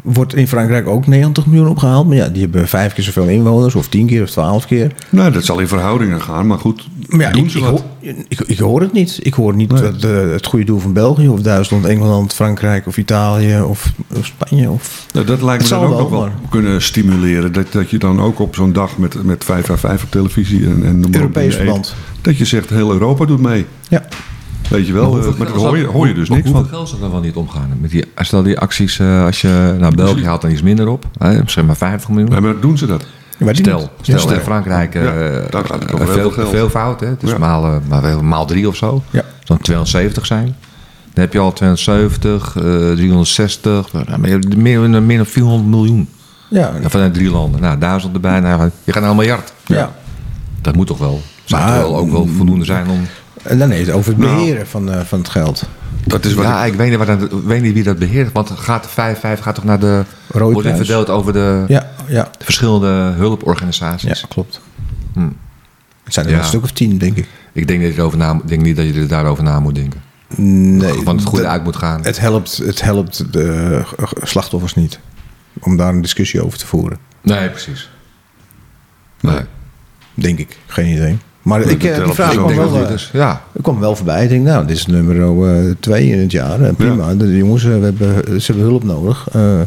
[SPEAKER 2] wordt in Frankrijk ook 90 miljoen opgehaald. Maar ja, die hebben vijf keer zoveel inwoners, of tien keer, of twaalf keer.
[SPEAKER 3] Nou, dat zal in verhoudingen gaan, maar goed,
[SPEAKER 2] Maar ja,
[SPEAKER 3] doen
[SPEAKER 2] ik,
[SPEAKER 3] ze
[SPEAKER 2] ik,
[SPEAKER 3] wat.
[SPEAKER 2] hoor, ik, ik hoor het niet. Ik hoor niet
[SPEAKER 3] Nee.
[SPEAKER 2] dat, eh, het goede doel van België, of Duitsland, Engeland, Frankrijk, of Italië, of, of Spanje. Of...
[SPEAKER 3] Nou, dat lijkt
[SPEAKER 2] Het
[SPEAKER 3] me dan
[SPEAKER 2] zal
[SPEAKER 3] ook
[SPEAKER 2] wel,
[SPEAKER 3] nog wel
[SPEAKER 2] maar-
[SPEAKER 3] kunnen stimuleren. Dat, dat je dan ook op zo'n dag met, met 555 op televisie en, en noem maar op,
[SPEAKER 2] Europees
[SPEAKER 3] en eet,
[SPEAKER 2] verband.
[SPEAKER 3] Dat je zegt, heel Europa doet mee.
[SPEAKER 2] Ja.
[SPEAKER 3] Weet je wel, eh, maar, daar hoor je, hoor je dus niks
[SPEAKER 1] hoeveel
[SPEAKER 3] van.
[SPEAKER 1] geld zal er wel niet omgaan? Met die, stel die acties, eh, als je naar België haalt dan iets minder op. Hè, zeg maar 50 miljoen.
[SPEAKER 3] Ja, maar doen ze dat?
[SPEAKER 2] Weet ik
[SPEAKER 1] Stel,
[SPEAKER 2] niet.
[SPEAKER 1] stel
[SPEAKER 2] Ja,
[SPEAKER 1] in Frankrijk eh,
[SPEAKER 3] Ja, daar gaat het over
[SPEAKER 1] eh,
[SPEAKER 3] heel
[SPEAKER 1] veel,
[SPEAKER 3] veel geld.
[SPEAKER 1] veel fout. Hè? Dus
[SPEAKER 3] Ja.
[SPEAKER 1] maal, eh, maar wel maal drie of zo.
[SPEAKER 2] Ja.
[SPEAKER 1] Dan 270 zijn. Dan heb je al 270, eh 360. Nou, maar je hebt meer, meer dan 400 miljoen.
[SPEAKER 2] Ja,
[SPEAKER 1] Ja, vanuit drie landen. Nou, duizend erbij. Nou, je gaat naar een miljard.
[SPEAKER 2] ja.
[SPEAKER 1] Dat moet toch wel. Zou
[SPEAKER 2] Maar-
[SPEAKER 1] toch wel ook wel voldoende zijn om...
[SPEAKER 2] En dan heeft het over het
[SPEAKER 3] Nou.
[SPEAKER 2] beheren van, eh, van het geld.
[SPEAKER 3] Dat is wat
[SPEAKER 1] ja, ik, weet niet wat dat- ik weet niet wie dat beheert. Want gaat de 5-5 gaat toch naar de...
[SPEAKER 2] Rode
[SPEAKER 1] wordt dit
[SPEAKER 2] Kruis.
[SPEAKER 1] verdeeld over de
[SPEAKER 2] Ja, ja.
[SPEAKER 1] verschillende
[SPEAKER 2] ja
[SPEAKER 1] hulporganisaties.
[SPEAKER 2] klopt.
[SPEAKER 1] Hm.
[SPEAKER 2] Het zijn er wel
[SPEAKER 1] Ja.
[SPEAKER 2] een stuk of tien, denk ik.
[SPEAKER 1] Ik denk, dat je erover na, ik denk niet dat je er daarover na moet denken.
[SPEAKER 2] Nee,
[SPEAKER 1] Want het goede
[SPEAKER 2] dat-
[SPEAKER 1] uit moet gaan.
[SPEAKER 2] het helpt, het helpt de eh, slachtoffers niet om daar een discussie over te voeren.
[SPEAKER 1] Nee, precies.
[SPEAKER 3] Nee.
[SPEAKER 1] Nee.
[SPEAKER 2] Denk ik, geen idee. Maar
[SPEAKER 3] Nee,
[SPEAKER 2] ik,
[SPEAKER 3] dat
[SPEAKER 2] eh, die
[SPEAKER 3] helpt
[SPEAKER 2] vraag
[SPEAKER 3] dus
[SPEAKER 1] Ik
[SPEAKER 2] kwam
[SPEAKER 3] ook
[SPEAKER 1] denk
[SPEAKER 2] wel,
[SPEAKER 1] dat het
[SPEAKER 2] eh,
[SPEAKER 1] is. Ja.
[SPEAKER 2] er kwam wel voorbij. Ik denk, nou, dit is nummer eh, twee in het jaar. Eh, Prima, de jongens, eh, we hebben, ze hebben hulp nodig. Eh,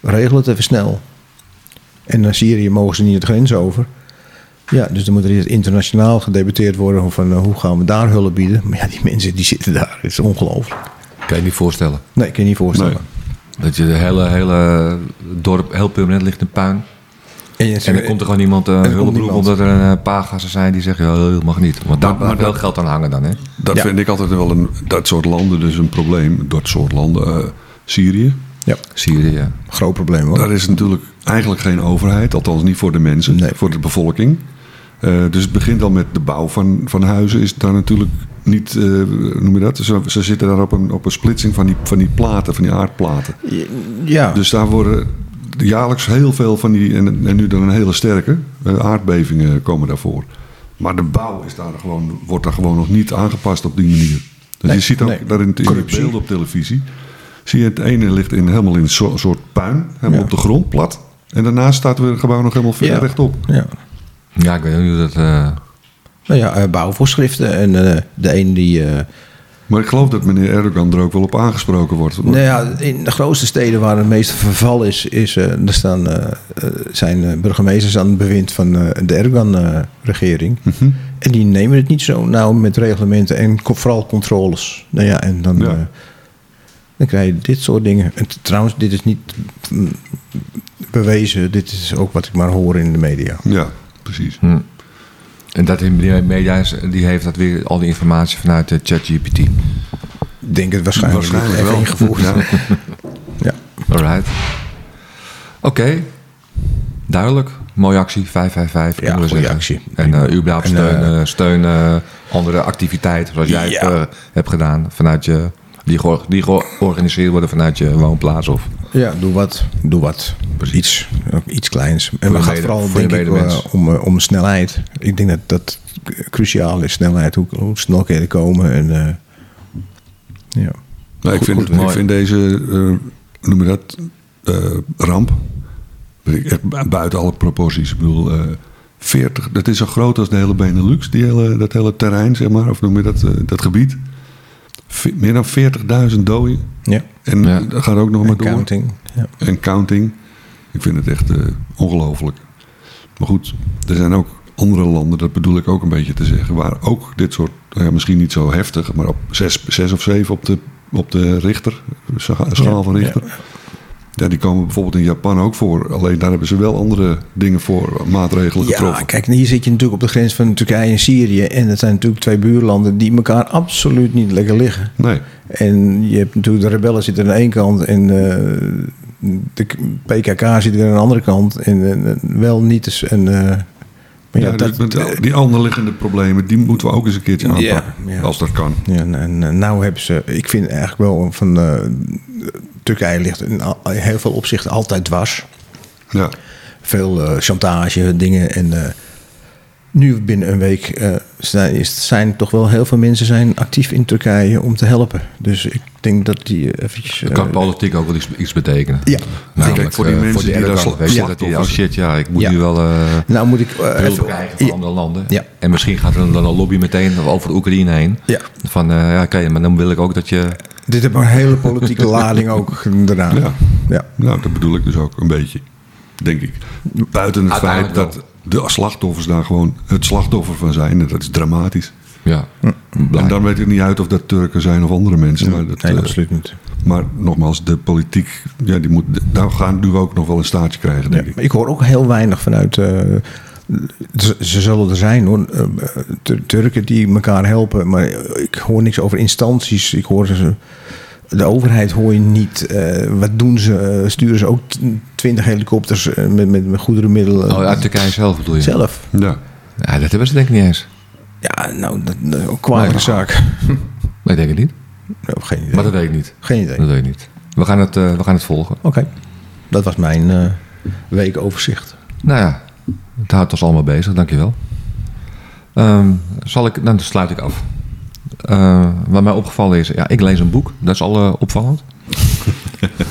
[SPEAKER 2] regel het even snel. En naar Syrië mogen ze niet de grens over. Ja, dus dan moet er eerst internationaal gedebatteerd worden van eh, hoe gaan we daar hulp bieden. Maar ja, die mensen die zitten daar. Het is ongelooflijk.
[SPEAKER 1] Kan je niet voorstellen.
[SPEAKER 2] Nee, ik kan je niet voorstellen.
[SPEAKER 1] Dat je de hele, hele dorp heel permanent ligt in puin.
[SPEAKER 2] En, je-
[SPEAKER 1] En dan komt er gewoon iemand eh
[SPEAKER 2] er komt
[SPEAKER 1] hulp roepen
[SPEAKER 2] niemand.
[SPEAKER 1] omdat er een eh, paar gasten zijn die zeggen, "Ja, dat mag niet. Want daar
[SPEAKER 3] Maar- maar
[SPEAKER 1] moet wel
[SPEAKER 3] dat-
[SPEAKER 1] geld aan hangen dan, hè?
[SPEAKER 3] Dat
[SPEAKER 2] Ja.
[SPEAKER 3] vind ik altijd wel een, dat soort landen dus een probleem. Dat soort landen, eh, Syrië.
[SPEAKER 2] Ja,
[SPEAKER 1] Syrië.
[SPEAKER 2] groot probleem hoor.
[SPEAKER 3] Daar is natuurlijk eigenlijk geen overheid, althans niet voor de mensen,
[SPEAKER 2] Nee.
[SPEAKER 3] voor de bevolking. Eh, dus het begint al met de bouw van, van huizen, is daar natuurlijk niet, eh, hoe noem je dat? Ze, ze zitten daar op een, op een splitsing van die, van die platen, van die aardplaten.
[SPEAKER 2] Ja,
[SPEAKER 3] Dus daar worden jaarlijks heel veel van die, en, en nu dan een hele sterke, eh, aardbevingen komen daarvoor. Maar de bouw is daar gewoon, wordt daar gewoon nog niet aangepast op die manier. Dus
[SPEAKER 2] Nee,
[SPEAKER 3] je ziet ook
[SPEAKER 2] nee.
[SPEAKER 3] daar in, het- in die
[SPEAKER 2] Corruptie.
[SPEAKER 3] beelden op televisie, zie je het ene ligt in, helemaal in een zo- soort puin, helemaal
[SPEAKER 2] Ja.
[SPEAKER 3] op de grond, plat. En daarnaast staat weer een gebouw nog helemaal ver-
[SPEAKER 2] Ja.
[SPEAKER 3] rechtop.
[SPEAKER 2] ja.
[SPEAKER 1] Ja, ik weet ook niet hoe dat... eh,
[SPEAKER 2] Nou ja, eh, bouwvoorschriften. En eh, de een die... eh,
[SPEAKER 3] Maar ik geloof dat meneer Erdogan er ook wel op aangesproken wordt.
[SPEAKER 2] Nou ja, in de grootste steden waar het meeste verval is, is eh, er staan, eh, eh, zijn eh, burgemeesters aan het bewind van eh, de Erdogan-regering.
[SPEAKER 3] Mhm.
[SPEAKER 2] En die nemen het niet zo nauw met reglementen en co- vooral controles. Nou ja, en dan,
[SPEAKER 3] Ja.
[SPEAKER 2] eh, dan krijg je dit soort dingen. En t- trouwens, dit is niet mm, bewezen. Dit is ook wat ik maar hoor in de media.
[SPEAKER 3] Ja, precies.
[SPEAKER 1] hm. En dat in de media is, die heeft dat weer al die informatie vanuit eh, ChatGPT.
[SPEAKER 2] Ik denk het waarschijnlijk,
[SPEAKER 3] Waarschijnlijk
[SPEAKER 2] niet. Even
[SPEAKER 3] wel.
[SPEAKER 2] ingevoerd.
[SPEAKER 3] Ja.
[SPEAKER 2] Ja.
[SPEAKER 1] Alright. Oké. Duidelijk. Mooie actie. 555.
[SPEAKER 2] Ja,
[SPEAKER 1] moeten we
[SPEAKER 2] goede
[SPEAKER 1] zeggen.
[SPEAKER 2] actie.
[SPEAKER 1] En eh überhaupt
[SPEAKER 2] En,
[SPEAKER 1] steun,
[SPEAKER 2] eh,
[SPEAKER 1] eh, steun eh, andere activiteiten zoals jij het
[SPEAKER 2] Ja.
[SPEAKER 1] eh, hebt gedaan. Vanuit je, die, geor- die georganiseerd worden vanuit je woonplaats. Of,
[SPEAKER 2] Ja, doe wat. Doe wat. Iets, ook iets kleins. En het
[SPEAKER 1] je
[SPEAKER 2] gaat
[SPEAKER 1] mede-
[SPEAKER 2] vooral
[SPEAKER 1] voor je
[SPEAKER 2] denk ik,
[SPEAKER 1] medemens.
[SPEAKER 2] eh, om, eh, om snelheid. Ik denk dat dat cruciaal is, snelheid. Hoe, hoe snel kan je er komen. En, eh, ja.
[SPEAKER 3] Nou, ik,
[SPEAKER 2] Goed,
[SPEAKER 3] vind,
[SPEAKER 2] goed,
[SPEAKER 3] ik
[SPEAKER 1] mooi.
[SPEAKER 3] vind deze, eh, hoe noem je dat, eh, ramp, weet ik, echt bu- buiten alle proporties. Ik bedoel, eh 40, dat is zo groot als de hele Benelux, die hele, dat hele terrein, zeg maar, of noem je dat, eh, dat gebied. Ve- meer dan 40.000 doden.
[SPEAKER 2] ja.
[SPEAKER 3] En
[SPEAKER 1] Ja.
[SPEAKER 3] dat gaat ook nog maar door.
[SPEAKER 2] Counting. Ja.
[SPEAKER 3] En counting. Ik vind het echt eh, ongelooflijk. Maar goed, er zijn ook andere landen, dat bedoel ik ook een beetje te zeggen, waar ook dit soort, nou ja, misschien niet zo heftig, maar op zes, zes of zeven op de, op de Richter, scha- schaal van Richter. Ja. die komen bijvoorbeeld in Japan ook voor. Alleen daar hebben ze wel andere dingen voor, maatregelen
[SPEAKER 2] Ja,
[SPEAKER 3] getroffen.
[SPEAKER 2] kijk, hier zit je natuurlijk op de grens van Turkije en Syrië. En dat zijn natuurlijk twee buurlanden die elkaar absoluut niet lekker liggen.
[SPEAKER 3] Nee,
[SPEAKER 2] En je hebt natuurlijk de rebellen zitten aan de ene kant en eh, de k- PKK zit weer aan de andere kant. En eh, wel niet eens. En, eh, maar ja,
[SPEAKER 3] Ja,
[SPEAKER 2] dat,
[SPEAKER 3] dus met die anderliggende problemen, die moeten we ook eens een keertje
[SPEAKER 2] Ja,
[SPEAKER 3] aanpakken.
[SPEAKER 2] ja.
[SPEAKER 3] Als dat kan.
[SPEAKER 2] ja, en, en nou hebben ze, ik vind eigenlijk wel van eh, Turkije ligt in al- heel veel opzichten altijd dwars.
[SPEAKER 3] Ja.
[SPEAKER 2] Veel eh, chantage, dingen en. eh, Nu binnen een week eh, zijn- is- zijn toch wel heel veel mensen zijn actief in Turkije om te helpen. Dus ik denk dat die eventjes...
[SPEAKER 1] Dat
[SPEAKER 2] eh,
[SPEAKER 1] kan politiek ook wel iets, iets betekenen.
[SPEAKER 2] Ja.
[SPEAKER 1] Namelijk,
[SPEAKER 3] Kijk, voor die
[SPEAKER 1] eh,
[SPEAKER 3] mensen die
[SPEAKER 1] Erdogan,
[SPEAKER 3] daar sla-
[SPEAKER 1] weet je, dat
[SPEAKER 3] slachtoffers
[SPEAKER 1] die, oh shit, ja, ik moet
[SPEAKER 2] Ja.
[SPEAKER 1] nu wel eh
[SPEAKER 2] Nou moet ik... eh,
[SPEAKER 1] hulp
[SPEAKER 2] even-
[SPEAKER 1] krijgen van
[SPEAKER 2] Ja.
[SPEAKER 1] andere landen.
[SPEAKER 2] Ja.
[SPEAKER 1] En misschien gaat er dan een lobby meteen over Oekraïne heen.
[SPEAKER 2] Ja.
[SPEAKER 1] Van, eh, ja, oké, maar dan wil ik ook dat je...
[SPEAKER 2] Dit heeft een hele politieke lading ook daarna.
[SPEAKER 3] Ja.
[SPEAKER 2] ja.
[SPEAKER 3] Nou, dat bedoel ik dus ook een beetje, denk ik. Buiten het feit
[SPEAKER 1] Uiteindelijk wel.
[SPEAKER 3] dat de slachtoffers daar gewoon het slachtoffer van zijn. En dat is dramatisch.
[SPEAKER 1] Ja,
[SPEAKER 3] En dan weet ik niet uit of dat Turken zijn of andere mensen. Maar, dat,
[SPEAKER 2] Nee,
[SPEAKER 3] eh,
[SPEAKER 2] absoluut niet.
[SPEAKER 3] maar nogmaals, de politiek, ja, die moet, daar gaan nu ook nog wel een staartje krijgen, denk ik.
[SPEAKER 2] Maar ik hoor ook heel weinig vanuit. eh, ze- ze zullen er zijn hoor. eh, Tur- Turken die elkaar helpen. Maar ik hoor niks over instanties. Ik hoor ze. De overheid hoor je niet. Eh, wat doen ze? Eh, Sturen ze ook twintig helikopters eh, met, met, met goederenmiddelen?
[SPEAKER 1] Oh, uit Turkije zelf bedoel je?
[SPEAKER 2] Zelf.
[SPEAKER 3] Ja.
[SPEAKER 1] Ja, dat hebben ze denk ik niet eens.
[SPEAKER 2] Ja, nou, dat, dat is ook kwalijke
[SPEAKER 1] Nou,
[SPEAKER 2] zaak.
[SPEAKER 1] Nee, denk ik niet.
[SPEAKER 2] Nou, geen idee.
[SPEAKER 1] Maar dat weet ik niet.
[SPEAKER 2] Geen idee.
[SPEAKER 1] Dat weet ik niet. We gaan het, eh, we gaan het volgen.
[SPEAKER 2] Oké. Dat was mijn eh, weekoverzicht.
[SPEAKER 1] Nou ja, het houdt ons allemaal bezig, dankjewel. Ehm zal ik, dan sluit ik af. Eh, wat mij opgevallen is, ja, ik lees een boek, dat is al eh, opvallend.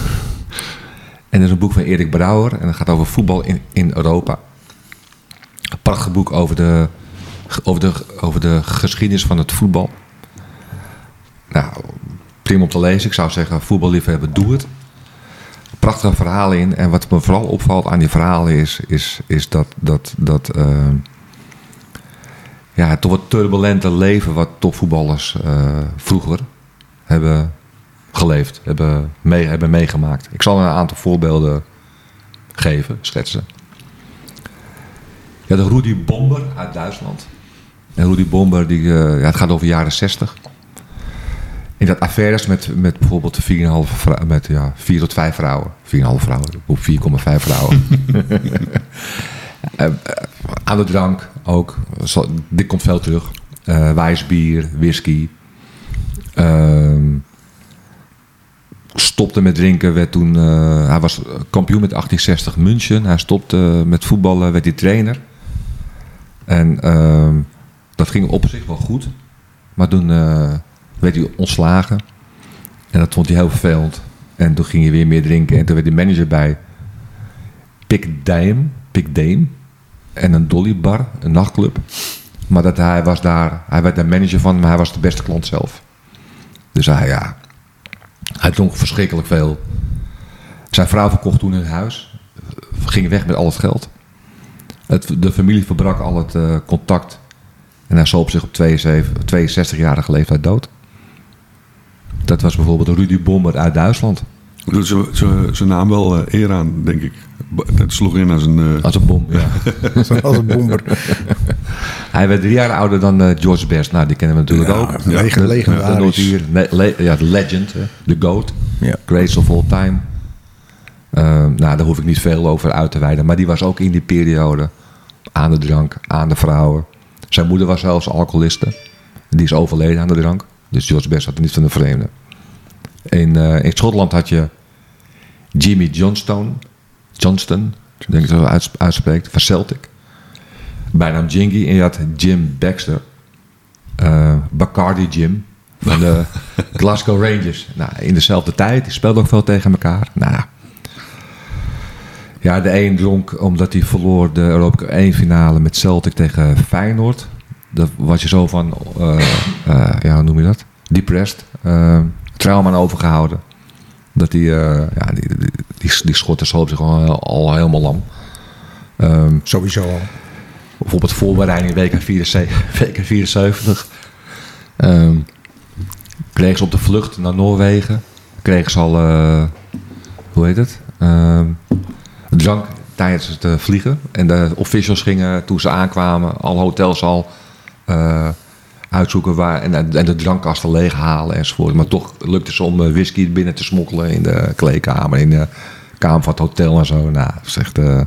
[SPEAKER 1] en dat is een boek van Erik Brouwer en dat gaat over voetbal in, in Europa. Een prachtig boek over de, over, de, over de geschiedenis van het voetbal. Nou, prima om te lezen. Ik zou zeggen, voetballiefhebber, doe het prachtige verhalen in. En wat me vooral opvalt aan die verhalen is, is, is dat, dat, dat eh, ja, het toch wat turbulente leven wat topvoetballers eh, vroeger hebben geleefd, hebben, mee, hebben meegemaakt. Ik zal een aantal voorbeelden geven, schetsen. Ja, de Rudy Bomber uit Duitsland. En Rudy Bomber, die, eh, ja, het gaat over jaren 60. In dat affaires met, met bijvoorbeeld 4,5 vrou- met ja, 4 tot 5 vrouwen. 4,5 vrouwen, of 4,5 vrouwen. Eh, eh, aan de drank ook. Zo- Dit komt veel terug. Eh wijsbier, whisky. Ehm, stopte met drinken, werd toen... eh, hij was kampioen met 1860 München. Hij stopte met voetballen, werd hij trainer. En ehm, dat ging op zich wel goed. Maar toen eh, werd hij ontslagen. En dat vond hij heel vervelend. En toen ging hij weer meer drinken. En toen werd hij manager bij Pik Dame. Pik Dame. En een Dolly Bar, een nachtclub. Maar dat hij, was daar, hij werd daar manager van, maar hij was de beste klant zelf. Dus hij, ja, hij dronk verschrikkelijk veel. Zijn vrouw verkocht toen hun huis. Ging weg met al het geld. Het, de familie verbrak al het eh, contact. En hij zoop zich op 62, 62-jarige leeftijd dood. Dat was bijvoorbeeld Rudy Bomber uit Duitsland.
[SPEAKER 3] Dus ze- ze- Zijn naam wel eh, eer aan, denk ik. Het sloeg in als een... eh,
[SPEAKER 1] Als een bom, ja.
[SPEAKER 2] Als een bomber.
[SPEAKER 1] Hij werd drie jaar ouder dan eh, George Best. Nou, die kennen we natuurlijk
[SPEAKER 2] Ja,
[SPEAKER 1] ook.
[SPEAKER 2] lege-
[SPEAKER 1] De-
[SPEAKER 2] legendarisch.
[SPEAKER 1] de Noordier, ne- le- ja, de legend, hè. de goat.
[SPEAKER 2] Ja.
[SPEAKER 1] Greatest of all time. Eh, nou, daar hoef ik niet veel over uit te wijden. Maar die was ook in die periode aan de drank, aan de vrouwen. Zijn moeder was zelfs alcoholiste. Die is overleden aan de drank. Dus George Best had het niet van de vreemde. In, eh, in Schotland had je Jimmy Johnstone. Johnston, denk ik dat hij uits- uitspreekt, van Celtic. Bijnaam Jingy. En je had Jim Baxter. Eh, Bacardi Jim. Van de Glasgow Rangers. Nou, in dezelfde tijd. Die speelden ook veel tegen elkaar. Nou, ja. ja, de een dronk omdat hij verloor de Europa Cup 1 finale met Celtic tegen Feyenoord. Daar was je zo van, eh, eh, ja, hoe noem je dat? Depressed. eh, trauma aan overgehouden. Dat die, eh, ja, die, die, die, die schotten sloop zich gewoon al, al helemaal lam. Ehm,
[SPEAKER 2] Sowieso al.
[SPEAKER 1] bijvoorbeeld voorbereiding WK 74. WK 74. Ehm, kregen ze op de vlucht naar Noorwegen. Kregen ze al, eh, hoe heet het? Ehm, drank tijdens het eh, vliegen. En de officials gingen toen ze aankwamen, al hotels al eh, uitzoeken waar, en, en de drankkasten leeghalen enzovoort. Maar toch lukte ze om eh, whisky binnen te smokkelen in de kleedkamer, in de kamer van het hotel en zo. Nou, dat is echt eh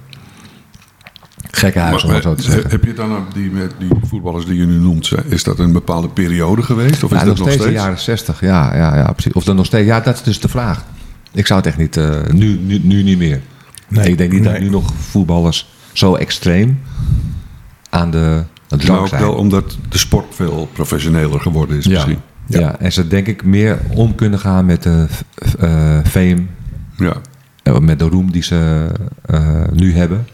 [SPEAKER 1] gekke huis om
[SPEAKER 3] maar,
[SPEAKER 1] het zo te
[SPEAKER 3] eh,
[SPEAKER 1] zeggen.
[SPEAKER 3] heb je dan ook die, met die voetballers die je nu noemt, eh, is dat een bepaalde periode geweest? Of is
[SPEAKER 1] ja,
[SPEAKER 3] dat nog
[SPEAKER 1] de
[SPEAKER 3] steeds?
[SPEAKER 1] jaren 60, ja, ja, ja, precies. Of dan nog steeds, ja, dat is dus de vraag. Ik zou het echt niet, eh, nu, nu, nu niet meer.
[SPEAKER 2] Nee,
[SPEAKER 1] ik denk niet dat
[SPEAKER 2] nee.
[SPEAKER 1] nu nog voetballers zo extreem aan de Dat
[SPEAKER 3] Maar
[SPEAKER 1] zou
[SPEAKER 3] ook
[SPEAKER 1] zijn.
[SPEAKER 3] wel omdat de sport veel professioneler geworden is
[SPEAKER 1] ja.
[SPEAKER 3] misschien.
[SPEAKER 1] Ja. en ze denk ik meer om kunnen gaan met de eh, fame,
[SPEAKER 3] Ja.
[SPEAKER 1] eh, met de roem die ze eh, nu hebben,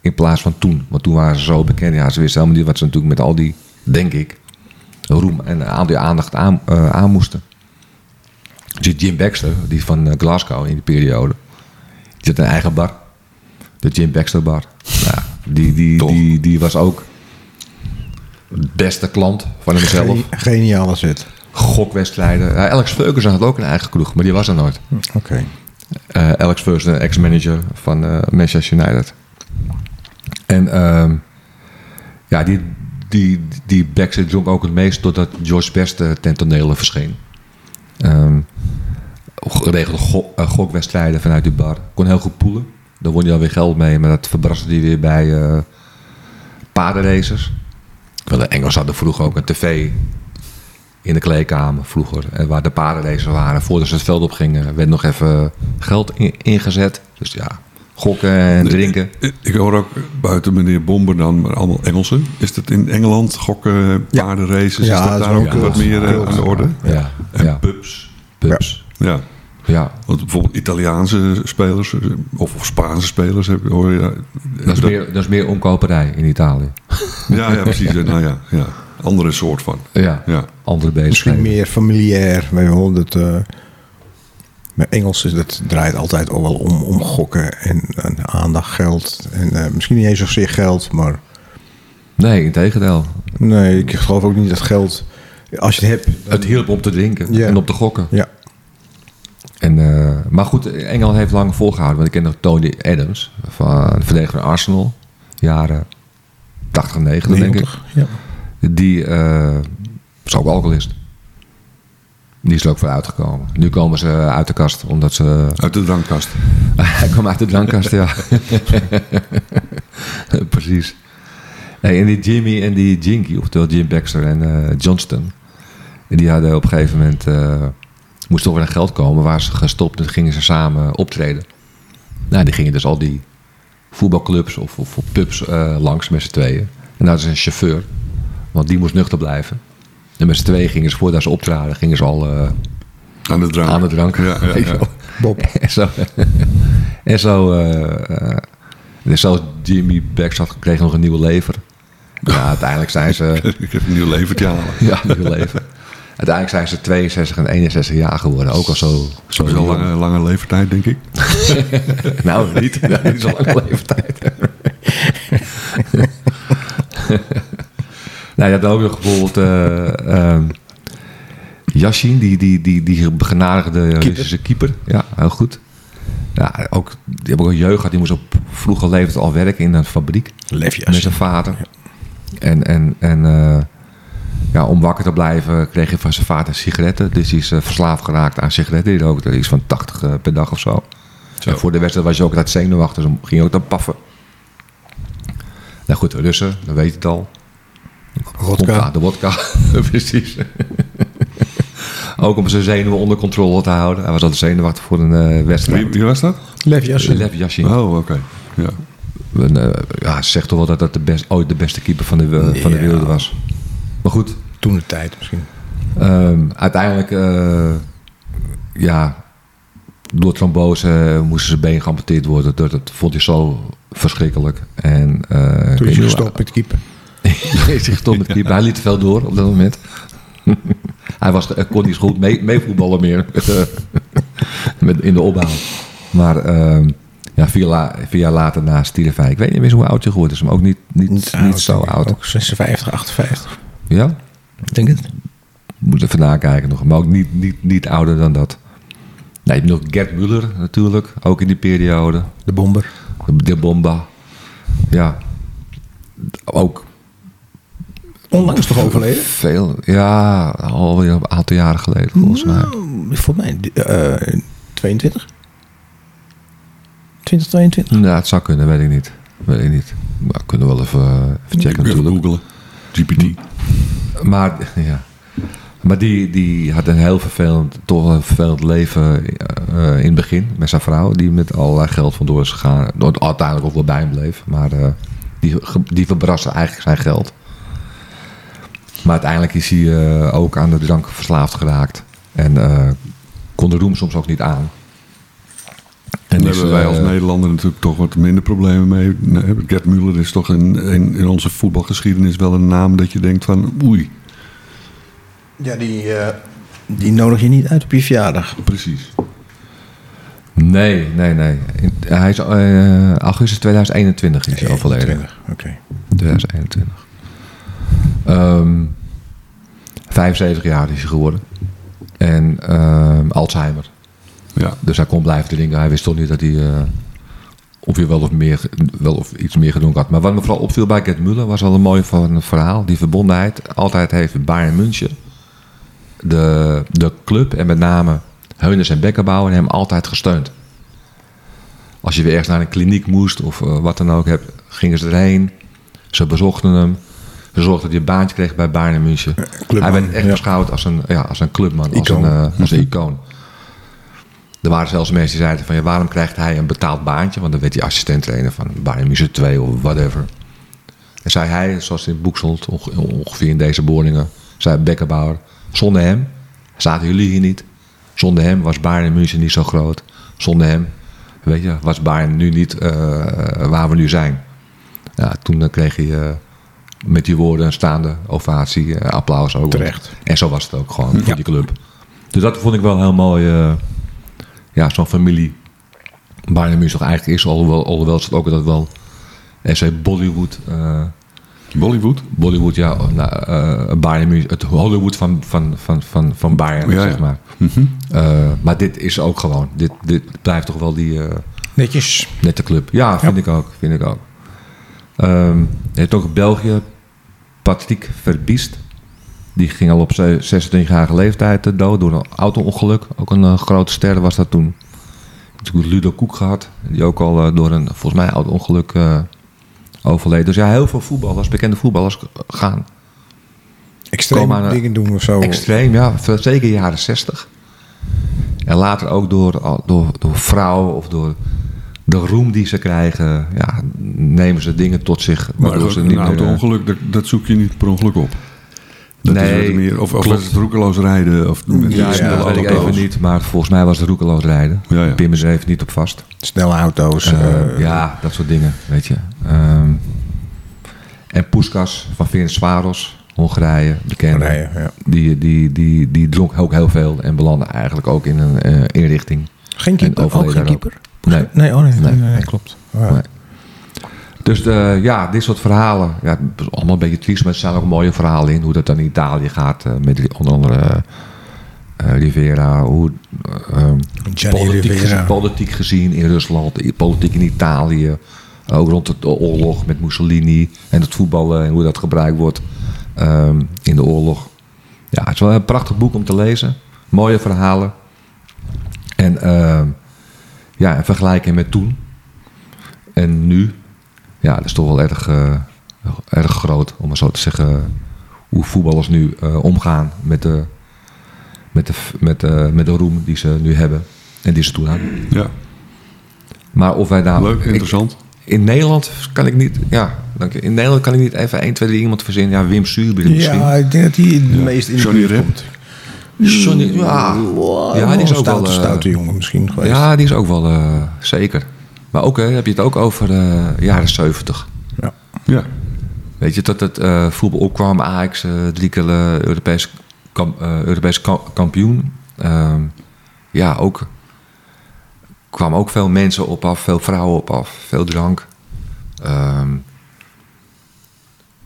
[SPEAKER 1] in plaats van toen. Want toen waren ze zo bekend. Ja, ze wisten helemaal niet wat ze natuurlijk met al die, denk ik, roem en aan die aandacht aan, eh, aan moesten. Dus Jim Baxter, die van eh, Glasgow in die periode, die had een eigen bar. De Jim Baxter bar. Nou Ja, die, die,
[SPEAKER 3] Toch.
[SPEAKER 1] die, die was ook beste klant van hemzelf.
[SPEAKER 2] Geni- Geniale zet.
[SPEAKER 1] gokwedstrijden. Ja, Alex Ferguson had ook een eigen kroeg, maar die was er nooit.
[SPEAKER 3] Hm.
[SPEAKER 2] Oké.
[SPEAKER 1] Eh, Alex Ferguson, ex-manager van eh, Manchester United. En ehm, ja, die, die, die Baxter dronk ook het meest totdat George Best eh, ten tonele verscheen. Ehm regelde go- eh, gokwedstrijden vanuit die bar. Kon heel goed poelen. Daar won hij alweer geld mee, maar dat verbraste hij weer bij eh, paardenracers. Wel, de Engels hadden vroeger ook een tv in de kleedkamer vroeger, eh, waar de paardenracers waren. Voordat ze het veld op gingen, werd nog even geld in- ingezet. Dus ja, gokken en drinken.
[SPEAKER 3] Ik- Ik hoor ook buiten meneer Bomber dan, maar allemaal Engelsen. Is dat in Engeland gokken,
[SPEAKER 2] Ja.
[SPEAKER 3] paardenraces?
[SPEAKER 2] Ja,
[SPEAKER 3] is dat
[SPEAKER 2] dat is
[SPEAKER 3] daar
[SPEAKER 2] wel
[SPEAKER 3] ook
[SPEAKER 1] cult.
[SPEAKER 3] wat meer eh,
[SPEAKER 2] Cult.
[SPEAKER 3] aan de orde?
[SPEAKER 1] Ja,
[SPEAKER 3] En
[SPEAKER 1] ja,
[SPEAKER 3] pubs.
[SPEAKER 1] pubs.
[SPEAKER 3] Ja,
[SPEAKER 1] Ja,
[SPEAKER 3] want bijvoorbeeld Italiaanse spelers eh, of, of Spaanse spelers heb, hoor je. eh,
[SPEAKER 1] dat is meer, dat is meer omkoperij in Italië.
[SPEAKER 3] ja, ja, precies. Eh, Nou ja, ja, andere soort van.
[SPEAKER 1] Ja,
[SPEAKER 3] Ja.
[SPEAKER 1] andere
[SPEAKER 2] Misschien
[SPEAKER 1] bezigheden.
[SPEAKER 2] meer familiair. Wij horen dat. eh, maar Engels is, dat draait altijd al wel om, om gokken en, en aandacht, geld. En, eh, misschien niet eens zozeer geld, maar
[SPEAKER 1] Nee, in tegendeel.
[SPEAKER 2] nee, ik geloof ook niet dat geld. Als je het hebt.
[SPEAKER 1] Het hielp om te drinken
[SPEAKER 2] Ja.
[SPEAKER 1] en op te gokken.
[SPEAKER 2] Ja,
[SPEAKER 1] En, eh, maar goed, Engeland heeft lang volgehouden. Want ik ken nog Tony Adams, van de verdediger van Arsenal. Jaren 80 en 90, denk ik.
[SPEAKER 2] 90, Ja.
[SPEAKER 1] Die eh, is ook alcoholist. Die is er ook voor uitgekomen. Nu komen ze uit de kast, omdat ze...
[SPEAKER 3] Uit de drankkast.
[SPEAKER 1] Hij kwam uit de drankkast, ja. Precies. Hey, en die Jimmy en die Jinky, oftewel Jim Baxter en eh, Johnston... die hadden op een gegeven moment... eh moest toch weer aan geld komen. Waar ze gestopt en gingen ze samen optreden. Nou, die gingen dus al die voetbalclubs of, of, of pubs eh, langs met z'n tweeën. En daar is een chauffeur, want die moest nuchter blijven. En met z'n tweeën gingen ze, voordat ze optraden, gingen ze al eh,
[SPEAKER 3] Aan de drank.
[SPEAKER 1] aan de drank.
[SPEAKER 3] Ja, ja,
[SPEAKER 1] Weet je
[SPEAKER 3] ja.
[SPEAKER 1] wel.
[SPEAKER 2] Bob.
[SPEAKER 1] En zo, eh, en zo, eh, eh, dus zelfs Jimmy Baxter had gekregen nog een nieuwe lever. Ja, uiteindelijk zijn ze,
[SPEAKER 3] Ik heb een nieuw levertje halen.
[SPEAKER 1] ja, een nieuwe lever. Uiteindelijk zijn ze 62 en 61 jaar geworden, ook al zo, zo
[SPEAKER 3] Dat is al
[SPEAKER 1] jong.
[SPEAKER 3] lange, lange levertijd, denk ik.
[SPEAKER 1] Nou, niet. Dat is al lang leeftijd. nou, je hebt ook nog bijvoorbeeld... eh ehm, Yashin, die, die, die, die begenadigde Russische keeper. Ja, heel goed. Ja, ook, die hebben ook een jeugd gehad. Die moest op vroege leeftijd al werken in een fabriek.
[SPEAKER 2] Lev
[SPEAKER 1] Met zijn vader. En, en, en eh, ja, om wakker te blijven kreeg hij van zijn vader sigaretten. Dus hij is eh, verslaafd geraakt aan sigaretten. Die rookte iets van 80 eh, per dag of zo.
[SPEAKER 3] Zo.
[SPEAKER 1] En voor de wedstrijd was je ook dat zenuwachtig. Dus ging je ook dan paffen. Nou goed, de Russen, dan weet je het al. Vodka,
[SPEAKER 2] Rodka.
[SPEAKER 1] De wodka, precies. ook om zijn zenuwen onder controle te houden. Hij was altijd zenuwachtig voor een eh, wedstrijd.
[SPEAKER 3] Wie, wie was dat?
[SPEAKER 2] Lev Yashin.
[SPEAKER 1] Lev Yashin.
[SPEAKER 3] Oh, oké. Ja.
[SPEAKER 1] En, eh, ja, ze zegt toch wel dat dat de best, ooit de beste keeper van de, eh, van de
[SPEAKER 2] Ja.
[SPEAKER 1] wereld was. Maar goed,
[SPEAKER 2] Toen de tijd misschien.
[SPEAKER 1] ehm, uiteindelijk, eh, ja, door trombose moesten zijn been geamputeerd worden. Dat, dat vond hij zo verschrikkelijk. En, eh, ik weet
[SPEAKER 2] Toen is
[SPEAKER 1] niet
[SPEAKER 2] je
[SPEAKER 1] hoe-
[SPEAKER 2] gestopt met keeper.
[SPEAKER 1] Hij is gestopt met keeper. Hij liet te veel door op dat moment. hij was, hij kon niet zo goed mee- meevoetballen meer eh, met, in de opbouw. Maar ehm, ja, vier, la- vier jaar later na stierf hij. Ik weet niet meer hoe oud hij geworden is, maar ook niet, niet, niet, zo oud.
[SPEAKER 2] Ook 56, 58.
[SPEAKER 1] Ja?
[SPEAKER 2] Ik denk het.
[SPEAKER 1] Moet even nakijken nog. Maar ook niet, niet, niet ouder dan dat. Nee, je hebt nog Gerd Muller natuurlijk, ook in die periode.
[SPEAKER 2] De bomber.
[SPEAKER 1] De Bomba. Ja. Ook
[SPEAKER 2] Onlangs toch overleden?
[SPEAKER 1] veel. Ja, alweer een aantal jaren geleden volgens mij.
[SPEAKER 2] Nou, volgens mij eh 22. 2022.
[SPEAKER 1] Ja, het zou kunnen, weet ik niet. Weet ik niet. Maar kunnen we wel even, eh, even checken
[SPEAKER 3] Even
[SPEAKER 1] natuurlijk.
[SPEAKER 3] googelen. GPT.
[SPEAKER 1] Maar, ja. maar die, die had een heel vervelend, toch wel een vervelend leven eh, eh, in het begin met zijn vrouw. Die met allerlei geld vandoor is gegaan. Uiteindelijk ook wel bij hem bleef. Maar eh, die, ge- die verbraste eigenlijk zijn geld. Maar uiteindelijk is hij eh, ook aan de drank verslaafd geraakt. En eh, kon de roem soms ook niet aan.
[SPEAKER 3] En daar
[SPEAKER 1] is,
[SPEAKER 3] hebben wij als
[SPEAKER 1] eh,
[SPEAKER 3] Nederlander natuurlijk toch wat minder problemen mee. Nee, Gerd Müller is toch in, in, in onze voetbalgeschiedenis wel een naam dat je denkt van oei.
[SPEAKER 2] Ja, die, eh, die nodig je niet uit op je verjaardag.
[SPEAKER 3] Precies.
[SPEAKER 1] Nee, nee, nee. In- Hij is eh, augustus 2021 is hij overleden.
[SPEAKER 2] 21, Oké.
[SPEAKER 1] 2021. Ehm 75 jaar is hij geworden. En ehm, Alzheimer.
[SPEAKER 3] Ja,
[SPEAKER 1] Dus hij kon blijven drinken. Hij wist toch niet dat hij eh, of je wel of, meer, wel of iets meer gedronken had. Maar wat me vooral opviel bij Gerd Muller was wel een mooi van het verhaal. Die verbondenheid altijd heeft Bayern München. De, de club en met name Heuners en Beckenbauer hebben hem altijd gesteund. Als je weer ergens naar een kliniek moest of eh, wat dan ook, heb, gingen ze erheen. Ze bezochten hem. Ze zorgden dat hij een baantje kreeg bij Bayern München.
[SPEAKER 2] clubman,
[SPEAKER 1] hij werd echt
[SPEAKER 2] ja.
[SPEAKER 1] beschouwd als een, ja, als een clubman, als een,
[SPEAKER 2] Icoon.
[SPEAKER 1] eh, als een icoon. Er waren zelfs mensen die zeiden van ja, waarom krijgt hij een betaald baantje? Want dan werd hij assistent trainer van Bayern München 2 of whatever. En zei hij, zoals in het boek stond, onge- ongeveer in deze boringen, zei Beckenbauer, zonder hem zaten jullie hier niet. Zonder hem was Bayern München niet zo groot. Zonder hem, weet je, was Bayern nu niet eh, waar we nu zijn. Ja, toen eh, kreeg hij eh, met die woorden een staande ovatie, eh, applaus ook.
[SPEAKER 2] Terecht.
[SPEAKER 1] En zo was het ook gewoon voor die club. Dus dat vond ik wel heel mooi. eh, ja, zo'n familie. Bayern München toch eigenlijk is, alhoewel, alhoewel ze het ook dat wel. SC Bollywood. eh,
[SPEAKER 3] Bollywood.
[SPEAKER 1] Bollywood, ja. Nou, eh, Bayern München, het Hollywood van, van, van, van, van Bayern,
[SPEAKER 3] Ja, ja. Mhm.
[SPEAKER 1] zeg maar. Eh, maar dit is ook gewoon. Dit, dit blijft toch wel die eh,
[SPEAKER 2] Netjes.
[SPEAKER 1] nette club. Ja, vind ik ook. Vind ik ook. Ehm je hebt ook in België Patrick Verbiest. Die ging al op ze- 26-jarige leeftijd eh, dood door een auto-ongeluk. Ook een eh, grote ster was dat toen. Natuurlijk Ludo Koek gehad. Die ook al eh, door een, volgens mij, auto-ongeluk eh, overleed. Dus ja, heel veel voetballers, bekende voetballers eh, gaan Kom maar,
[SPEAKER 2] Extreme
[SPEAKER 1] eh,
[SPEAKER 2] dingen doen of zo.
[SPEAKER 1] Extreem, ja. v- Zeker jaren 60. En later ook door, al- door, door vrouwen of door de roem die ze krijgen, ja, nemen ze dingen tot zich.
[SPEAKER 3] Maar
[SPEAKER 1] waardoor ze
[SPEAKER 3] een
[SPEAKER 1] niet meer, eh,
[SPEAKER 3] auto-ongeluk, dat, dat zoek je niet per ongeluk op. Dat
[SPEAKER 1] Nee,
[SPEAKER 3] is wat er meer, of of
[SPEAKER 1] klopt.
[SPEAKER 3] is het roekeloos rijden? Of met
[SPEAKER 1] Ja, ja,
[SPEAKER 3] snelle
[SPEAKER 1] dat weet ik
[SPEAKER 3] auto's.
[SPEAKER 1] even niet, maar volgens mij was het roekeloos rijden.
[SPEAKER 3] Ja, ja.
[SPEAKER 1] Pim is er even niet op vast.
[SPEAKER 2] Snelle auto's.
[SPEAKER 1] Eh,
[SPEAKER 2] eh,
[SPEAKER 1] ja, dat soort dingen, weet je. Ehm, en Poeskas van Vince Swaros, Hongarije, bekend.
[SPEAKER 2] Hongarije, ja.
[SPEAKER 1] die, die, die, die dronk ook heel veel en belandde eigenlijk ook in een eh, inrichting.
[SPEAKER 2] Geen keeper.
[SPEAKER 1] En overleden
[SPEAKER 2] Ook geen
[SPEAKER 1] daar ook.
[SPEAKER 2] keeper.
[SPEAKER 1] Nee.
[SPEAKER 2] Nee, oh nee,
[SPEAKER 1] Nee,
[SPEAKER 2] nee, nee,
[SPEAKER 1] nee.
[SPEAKER 2] klopt. Ja.
[SPEAKER 1] Nee. Dus eh, ja, dit soort verhalen. Ja, het is allemaal een beetje triest, maar er staan ook mooie verhalen in. Hoe dat dan in Italië gaat. eh, met die- onder andere eh, eh, Rivera. Hoe, eh, ehm,
[SPEAKER 2] Gianni Rivera.
[SPEAKER 1] Gezien, politiek gezien in Rusland. i- Politiek in Italië. eh, Ook rond de oorlog met Mussolini. En het voetballen en hoe dat gebruikt wordt ehm, in de oorlog. Ja, het is wel een prachtig boek om te lezen. Mooie verhalen. En ehm ja, en vergelijken met toen. En nu, ja, dat is toch wel erg, eh, erg groot om maar zo te zeggen. Hoe voetballers nu eh, omgaan met de, met, de, met, de, met de roem die ze nu hebben en die ze toen hadden.
[SPEAKER 3] Ja,
[SPEAKER 1] Maar of wij daar.
[SPEAKER 3] leuk,
[SPEAKER 1] Ah, ik-
[SPEAKER 3] interessant.
[SPEAKER 1] in Nederland kan ik niet. Ja, dank je. In Nederland kan ik niet even 1, 2, 3 iemand verzinnen. Ja, Wim Suurbier misschien.
[SPEAKER 2] Ja, ik denk dat hij het meest in de
[SPEAKER 3] Johnny
[SPEAKER 2] buurt
[SPEAKER 3] Rep.
[SPEAKER 2] komt. Ah,
[SPEAKER 1] Johnny- Ah. ja. Ja, die is
[SPEAKER 2] een
[SPEAKER 1] ook wel,
[SPEAKER 2] stoute,
[SPEAKER 1] eh,
[SPEAKER 2] stoute jongen misschien geweest.
[SPEAKER 1] Ja, die is ook wel eh, zeker. Maar ook hè, heb je het ook over de jaren 70.
[SPEAKER 2] Ja.
[SPEAKER 3] Ja,
[SPEAKER 1] Weet je, dat het eh, voetbal opkwam, Ajax, eh, drie keer eh, Europees, kam- eh, Europees ka- kampioen. Ehm, ja, ook kwam ook veel mensen op af, veel vrouwen op af, veel drank. Ehm,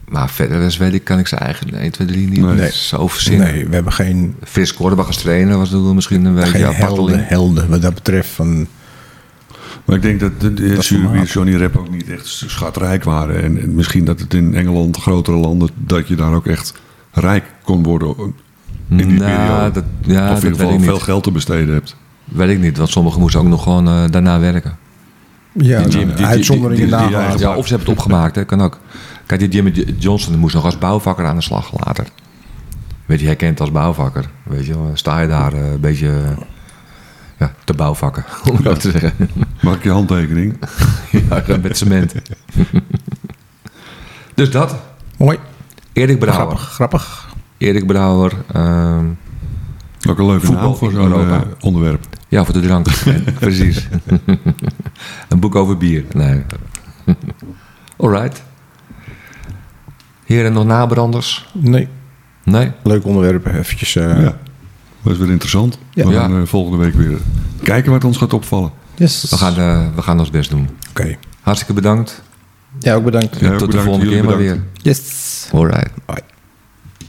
[SPEAKER 1] maar verder is, weet ik, kan ik ze eigenlijk 1, 2, 3 niet
[SPEAKER 3] Nee.
[SPEAKER 1] zo verzinnen.
[SPEAKER 2] Nee, we hebben geen,
[SPEAKER 1] Frits Korbach als trainer was natuurlijk misschien een beetje
[SPEAKER 2] geen helden,
[SPEAKER 1] aparteling.
[SPEAKER 2] helden wat dat betreft. Van,
[SPEAKER 3] maar ik denk dat de, de
[SPEAKER 2] is
[SPEAKER 3] Suriname
[SPEAKER 2] normaal.
[SPEAKER 3] en Johnny Rep ook niet echt schatrijk waren. En, en misschien dat het in Engeland, grotere landen, dat je daar ook echt rijk kon worden in die
[SPEAKER 1] Nou,
[SPEAKER 3] periode.
[SPEAKER 1] dat- ja, dat
[SPEAKER 3] of in ieder
[SPEAKER 1] weet
[SPEAKER 3] geval
[SPEAKER 1] ik
[SPEAKER 3] veel
[SPEAKER 1] niet.
[SPEAKER 3] geld te besteden hebt.
[SPEAKER 1] Weet ik niet, want sommigen moesten ook nog gewoon eh, daarna werken.
[SPEAKER 2] ja, nou,
[SPEAKER 3] die- die- die-
[SPEAKER 2] uitzonderingen
[SPEAKER 3] die- die- die-
[SPEAKER 2] nagelaten.
[SPEAKER 3] die-
[SPEAKER 1] Ja, of ze hebben het opgemaakt, hè, kan ook. Kijk, die Jimmy J- Johnson die moest nog als bouwvakker aan de slag later. Weet je, herkend als bouwvakker. Weet je, dan sta je daar eh, een beetje eh, ja, te bouwvakken, om het zo te zeggen.
[SPEAKER 3] Maak je handtekening.
[SPEAKER 1] ja, met cement. dus dat,
[SPEAKER 2] Mooi,
[SPEAKER 1] Erik Brouwer.
[SPEAKER 2] grappig, grappig.
[SPEAKER 1] Erik Brouwer. ehm,
[SPEAKER 3] Ook een leuke
[SPEAKER 1] Voetbal
[SPEAKER 3] naam voor
[SPEAKER 1] in
[SPEAKER 3] zo'n
[SPEAKER 1] Europa.
[SPEAKER 3] eh, onderwerp.
[SPEAKER 1] ja, voor de drank. Precies. een boek over bier. Nee. Alright. Heren, nog nabranders?
[SPEAKER 2] Nee,
[SPEAKER 1] Nee?
[SPEAKER 2] leuk onderwerp. Eventjes, eh,
[SPEAKER 3] Ja. Dat is weer interessant.
[SPEAKER 2] Ja.
[SPEAKER 3] We gaan
[SPEAKER 1] Ja.
[SPEAKER 3] eh, volgende week weer kijken wat ons gaat opvallen.
[SPEAKER 2] yes.
[SPEAKER 1] We gaan, eh, we gaan ons best doen.
[SPEAKER 2] Oké.
[SPEAKER 1] Hartstikke bedankt.
[SPEAKER 2] Ja, ook bedankt.
[SPEAKER 3] Ja,
[SPEAKER 1] Tot de
[SPEAKER 3] bedankt.
[SPEAKER 1] volgende keer
[SPEAKER 3] Jullie
[SPEAKER 1] maar weer.
[SPEAKER 3] bedankt.
[SPEAKER 2] Yes.
[SPEAKER 1] Alright.
[SPEAKER 2] Bye.